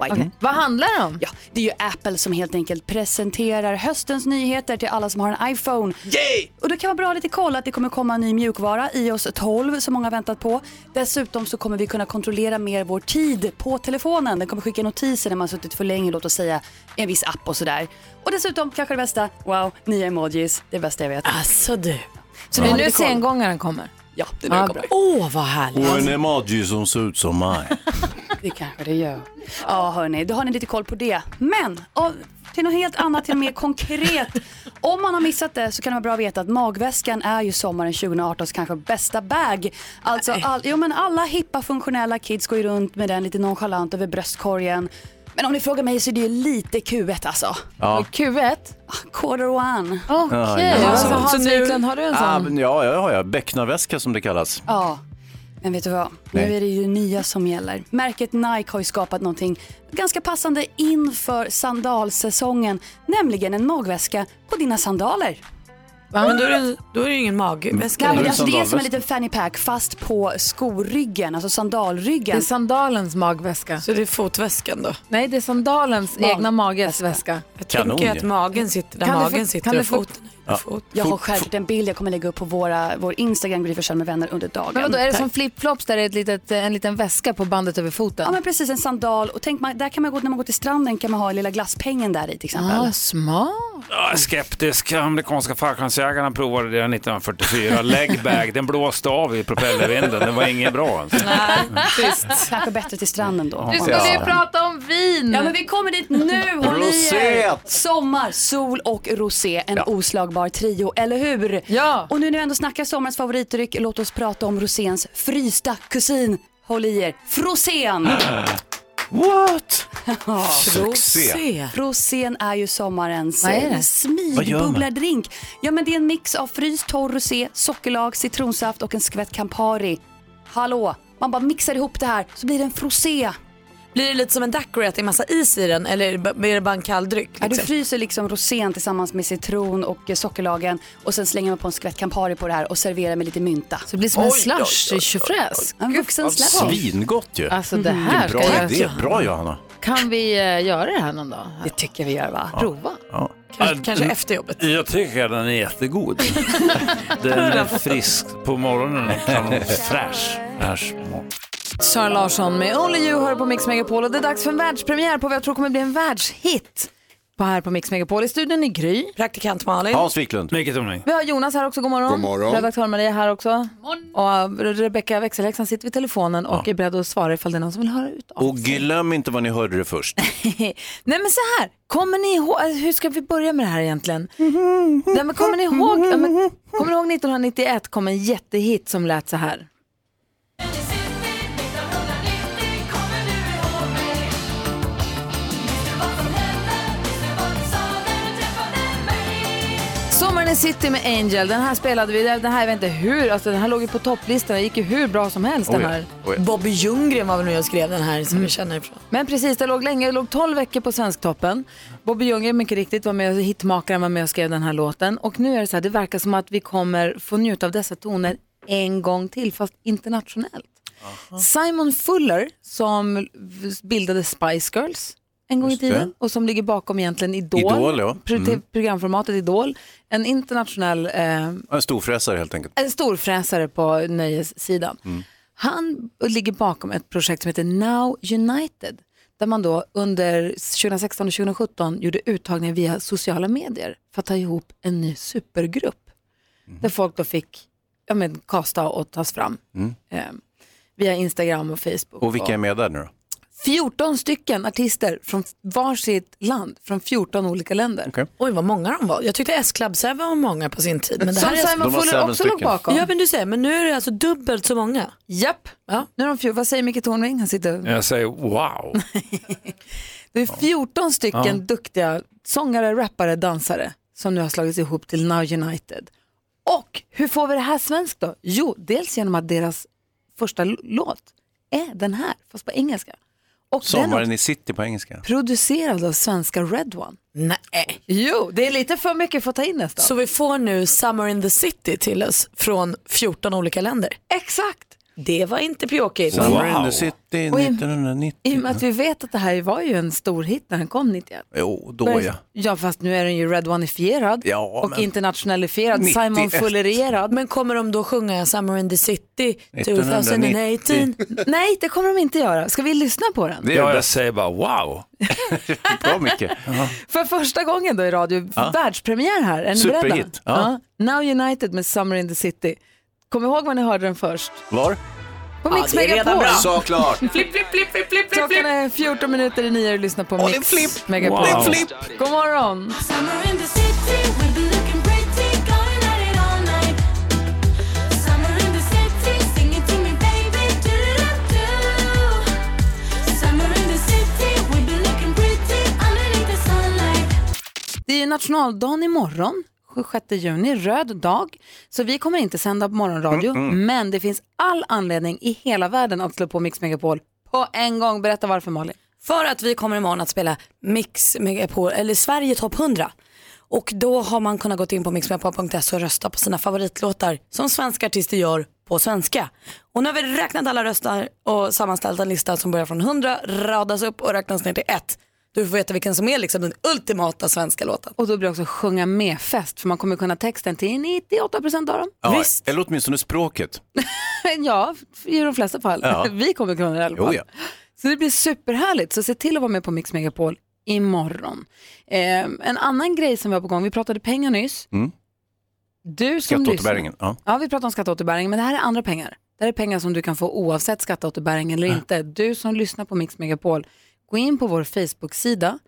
wide.
Mm. Vad handlar det om?
Ja, det är ju Apple som helt enkelt presenterar höstens nyheter till alla som har en iPhone. Yay! Och det kan vara bra att ha lite koll att det kommer komma en ny mjukvara, iOS 12, som många har väntat på. Dessutom så kommer vi kunna kontrollera mer vår tid på telefonen. Den kommer skicka notiser när man har suttit för länge, låt oss säga en viss app och sådär. Och dessutom, kanske det bästa, wow, nya emojis. Det är det bästa jag vet. Alltså du.
Så det är nu sengångaren kommer.
Ja, det är nu
Ja,
den
bra.
kommer. Åh, oh, vad härligt.
Och en emoji som ser ut som mig.
Det kanske det gör. Ja, hörni, då har ni lite koll på det. Men av, till något helt annat, till något mer konkret. Om man har missat det så kan det vara bra att veta att magväskan är ju sommaren 2018s kanske bästa bag. Alltså, all, jo, men alla hippa funktionella kids går ju runt med den lite nonchalant över bröstkorgen. Men om ni frågar mig så är det ju lite Q1 alltså.
[LAUGHS]
Ah,
Ja.
Q1?
Quarter one.
Okej,
Ja, ja.
alltså, Hans Wiklund, har du en
Ah,
sån?
men ja, jag har jag. Bäcknarväska som det kallas.
Ja, men vet du vad?
Nej.
Nu är det ju nya som gäller. Märket Nike har ju skapat någonting ganska passande inför sandalsäsongen, nämligen en magväska på dina sandaler.
Men då är det, då är det ju ingen magväska.
Nej,
längre.
men alltså det är som en liten fanny pack fast på skoryggen, alltså sandalryggen.
Det är sandalens magväska.
Så det är fotväskan då?
Nej, det är sandalens egna mages väska.
Jag tänker att magen sitter där
Kan du
magen
för-
sitter
kan du
och
för-
foten.
Ja.
Jag har självklart en bild jag kommer lägga upp på våra, vår Instagram, Gry Forssell med vänner under dagen.
Men vadå, är det
Där-
som flipflops där det är ett litet,
eh,
en liten väska på bandet över foten?
Ja men precis, en sandal. Och tänk, man, där kan man gå, när man går till stranden kan man ha lilla glasspengen där i till exempel.
ah, smart.
Jag är skeptisk. Amerikanska fallskärmsjägarna provade det 1944. Legbag, den blåste av i propellervinden. Den var inget bra. Alltså.
[LAUGHS] Visst. Kanske bättre till stranden då.
Vi skulle ju Ja.
prata om vin.
Ja men vi kommer dit nu. Håll i er.
Rosé.
Sommar, sol och rosé. En
Ja.
oslagbar trio, eller hur?
Ja.
Och nu när vi ändå snackar sommarens favoritdryck, låt oss prata om roséns frysta kusin. Håll i er. Frosén!
[LAUGHS]
What?
Succé.
Succé.
Rosén är ju sommarens
Vad är det?
eh,
Vad gör man?
smygbubblardrink. Ja, men det är en mix av fryst torr rosé, sockerlag, citronsaft och en skvätt Campari. Hallå, man bara mixar ihop det här så blir det en frosé.
Blir det lite som en daiquiri att det är massa is i den eller är det ba- är det bara en kall dryck?
Ja, du
liksom?
fryser liksom rosén tillsammans med citron och eh, sockerlagen och sen slänger man på en skvätt Campari på det här och serverar med lite mynta. Så
det blir som en Oj, slush, oj, oj, oj. tjofräs.
En vuxen slush.
Svingott ju.
Alltså, det
Vilken
här
bra
ska jag-
idé. Bra Johanna.
Kan vi eh, göra det här någon dag?
Det tycker vi gör va?
Prova.
Ja.
kanske efter jobbet.
Jag tycker den är
[LAUGHS]
jättegod. Den är frisk på morgonen och kan- fräsch. Fräsch.
Sara Larsson med Only You hör på Mix Megapol och det är dags för en världspremiär på vad jag tror kommer bli en världshit. På här på Mix Megapol i studion i Gry.
Praktikant Malin.
Hans Wiklund. Mycket tomning.
Vi har Jonas här också, god morgon.
God morgon.
Redaktör Maria här också. Och eh, Rebecka växelhäxan sitter vid telefonen och är beredd att svara ifall det är någon som vill höra ut.
Och glöm inte vad ni hörde det först.
[LAUGHS] Nej men så här, kommer ni ihåg, alltså, hur ska vi börja med det här egentligen? Nej, men kommer, ni ihåg, ja, men, kommer ni ihåg 1991 kom en jättehit som lät så här? Sommaren i city med Angel, den här spelade vi, den här jag vet inte hur, alltså den här låg ju på topplistan, den gick ju hur bra som helst den här.
Bobby Ljunggren var väl med och skrev den här som vi känner ifrån.
Men precis, det låg länge, det låg 12 veckor på Svensktoppen. Bobby Ljunggren mycket riktigt var med, och- hitmakaren var med och skrev den här låten. Och nu är det så här, det verkar som att vi kommer få njuta av dessa toner en gång till, fast internationellt. Simon Fuller som v- bildade Spice Girls en gång i tiden och som ligger bakom egentligen Idol,
Idol, ja.
pro-
Mm.
te- programformatet Idol, en internationell, eh,
En storfräsare helt enkelt.
en storfräsare på nöjessidan.
Mm.
Han ligger bakom ett projekt som heter Now United där man då under 2016 och 2017 gjorde uttagningar via sociala medier för att ta ihop en ny supergrupp.
Mhm.
Där folk då fick ja, men, kasta och tas fram
Mm.
eh, via Instagram och Facebook.
Och vilka är med där nu då?
14 stycken artister från varsitt land, från 14 olika länder.
Oj vad många de var. Jag tyckte S-Club 7 var många på sin tid. Men det
Som
här är...
Simon De var Fuller seven också stycken. låg bakom.
Ja men du säger, men nu är det alltså dubbelt så många.
Japp, nu är de fjol. Vad säger Micke Tornving? Han sitter...
Jag säger wow.
Det är 14 stycken
Ja.
duktiga sångare, rappare, dansare som nu har slagits ihop till Now United. Och hur får vi det här svenskt då? Jo, dels genom att deras första l- låt är den här, fast på engelska. Och den är
Sommaren i city på engelska.
producerad av svenska Red One.
Nej.
Jo, det är lite för mycket för att ta in nästan.
Så vi får nu Summer in the City till oss från 14 olika länder.
Exakt.
Det var inte pjåkigt.
Summer in the city
Och i-
1990.
I och med att vi vet att det här var ju en stor hit när den kom 91.
Jo, då ja.
Ja, fast nu är den ju Red One-ifierad
Ja,
och
men-
internationalifierad. Simon
91.
Fullerierad.
Men kommer de då sjunga Summer in the City 2018?
1990?
Nej, det kommer de inte göra. Ska vi lyssna på den?
Det jag säger bara wow.
Bra Micke.
För första gången då i radio,
Ja.
världspremiär här. Är ni beredda?
Superhit, ja.
Now United med Summer in the City. Kom ihåg var ni hörde den först.
Var?
På Mix
det är redan
Megapol.
bra. [LAUGHS] Såklart.
Flipp, flipp, flipp, flipp, flipp, flipp. Klockan är 14 minuter i nio och du lyssnar på
Och det är
Mix
flipp.
Megapol.
Det är flipp.
God morgon. Det är ju nationaldagen imorgon, 6 juni, röd dag. Så vi kommer inte sända på morgonradio,
Mm, mm.
men det finns all anledning i hela världen att slå på Mix Megapol på en gång. Berätta varför Malin.
För att vi kommer imorgon att spela Mix Megapol, eller Sverige Topp 100. Och då har man kunnat gå in på mixmegapol.se och rösta på sina favoritlåtar som svenska artister gör på svenska. Och nu har vi räknat alla röster och sammanställt en lista som börjar från 100, radas upp och räknas ner till 1. Du får veta vilken som är liksom den ultimata svenska låten.
Och då blir det också sjunga med-fest, för man kommer kunna texten till 98 procent av dem.
Ja, eller åtminstone språket.
[LAUGHS] ja, i de flesta fall.
Ja.
[LAUGHS] Vi kommer kunna det i alla fall.
Jo, ja.
Så det blir superhärligt, så se till att vara med på Mix Megapol imorgon. Eh, en annan grej som vi har på gång, vi pratade pengar nyss.
Mm.
Du som
Skatteåterbäringen. Ja.
Ja, vi pratar om skatteåterbäring, men det här är andra pengar. Det här är pengar som du kan få oavsett skatteåterbäring eller inte. Du som lyssnar på Mix Megapol, gå in på vår Facebook-sida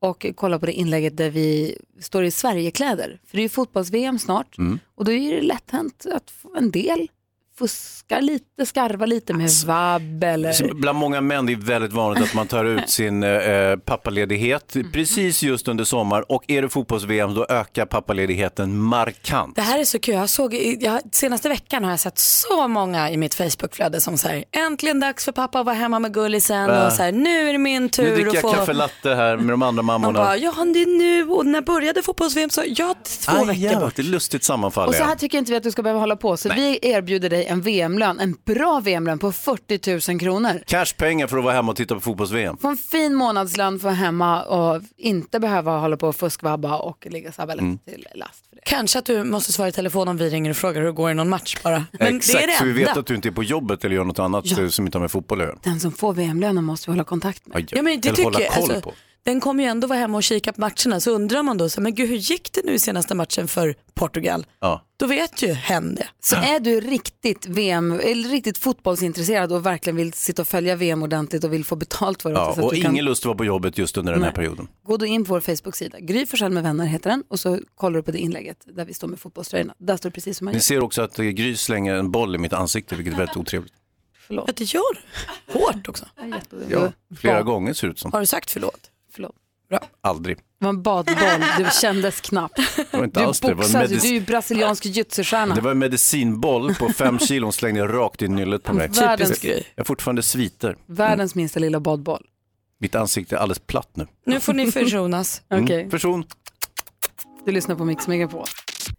och kolla på det inlägget där vi står i Sverigekläder. För det är ju fotbolls-VM snart
Mm.
och då är det lätt hänt att få en del fuskar lite, skarvar lite med vabb eller...
Så Bland många män det är väldigt vanligt att man tar ut sin eh, pappaledighet precis just under sommar och är det fotbolls-VM då ökar pappaledigheten markant.
Det här är så kul. Jag såg, i- jag, senaste veckan har jag sett så många i mitt Facebookflöde som säger äntligen dags för pappa att vara hemma med gullisen
Äh.
och så här, nu är det min tur
Nu dricker
att
jag
få...
kaffe latte här med de andra
Man
mammorna.
bara, ja det är nu och när började fotbolls-VM så ja två
Aj,
veckor
jävlar,
bort.
Det är lustigt sammanfall.
Och så
ja.
här tycker inte vi att du ska behöva hålla på, så vi erbjuder dig en VM-lön, en bra VM-lön på 40 000 kronor.
Cashpengar för att vara hemma och titta på fotbolls-VM.
Få en fin månadslön för hemma och inte behöva hålla på och fuskvabba och ligga sabbelet
Mm.
till last.
Kanske att du måste svara i telefon om vi ringer och frågar hur det går i någon match bara. Men
Exakt,
det är
så vi
det
vet
enda.
att du inte är på jobbet eller gör något annat eh, som inte har med fotboll att göra.
Den som får VM-lönen måste vi hålla kontakt med.
Aj,
Ja, men det
eller
tycker
hålla
jag,
koll
alltså,
på.
Den kommer ju ändå vara hemma och kika på matcherna så undrar man då så här, men gud hur gick det nu i senaste matchen för Portugal?
Ja.
Då vet ju hen det.
Så är du riktigt, VM, eller riktigt fotbollsintresserad och verkligen vill sitta och följa VM ordentligt och vill få betalt för det också,
Ja,
så att
och
du
ingen
kan
lust att vara på jobbet just under den här perioden.
gå då in på vår Facebook-sida. Gry Forssell med vänner heter den och så kollar du på det inlägget där vi står med fotbollströjorna. Där står det precis som man
Ni
gör.
ser också att eh, Gry slänger en boll i mitt ansikte, vilket är väldigt otrevligt.
Förlåt.
Ja, det gör du. Hårt också.
Ja, flera gånger ser det ut som.
Har du sagt förlåt?
Förlåt.
Aldrig.
Det var en badboll, du kändes knappt.
Det var inte
Du
alls det. Det var en
boxas ju,
medic-
du är ju brasiliansk jujutsu-stjärna.
Det var en medicinboll på
[LAUGHS]
fem kilo hon slängde rakt i nyllet på mig.
Världens
Det-
grej.
Jag fortfarande sviter.
Världens minsta lilla badboll.
Mitt ansikte är alldeles platt nu.
[LAUGHS]
Nu får
[LAUGHS]
ni försonas.
Mm.
Okej.
Person.
Du lyssnar på Mix Megapol.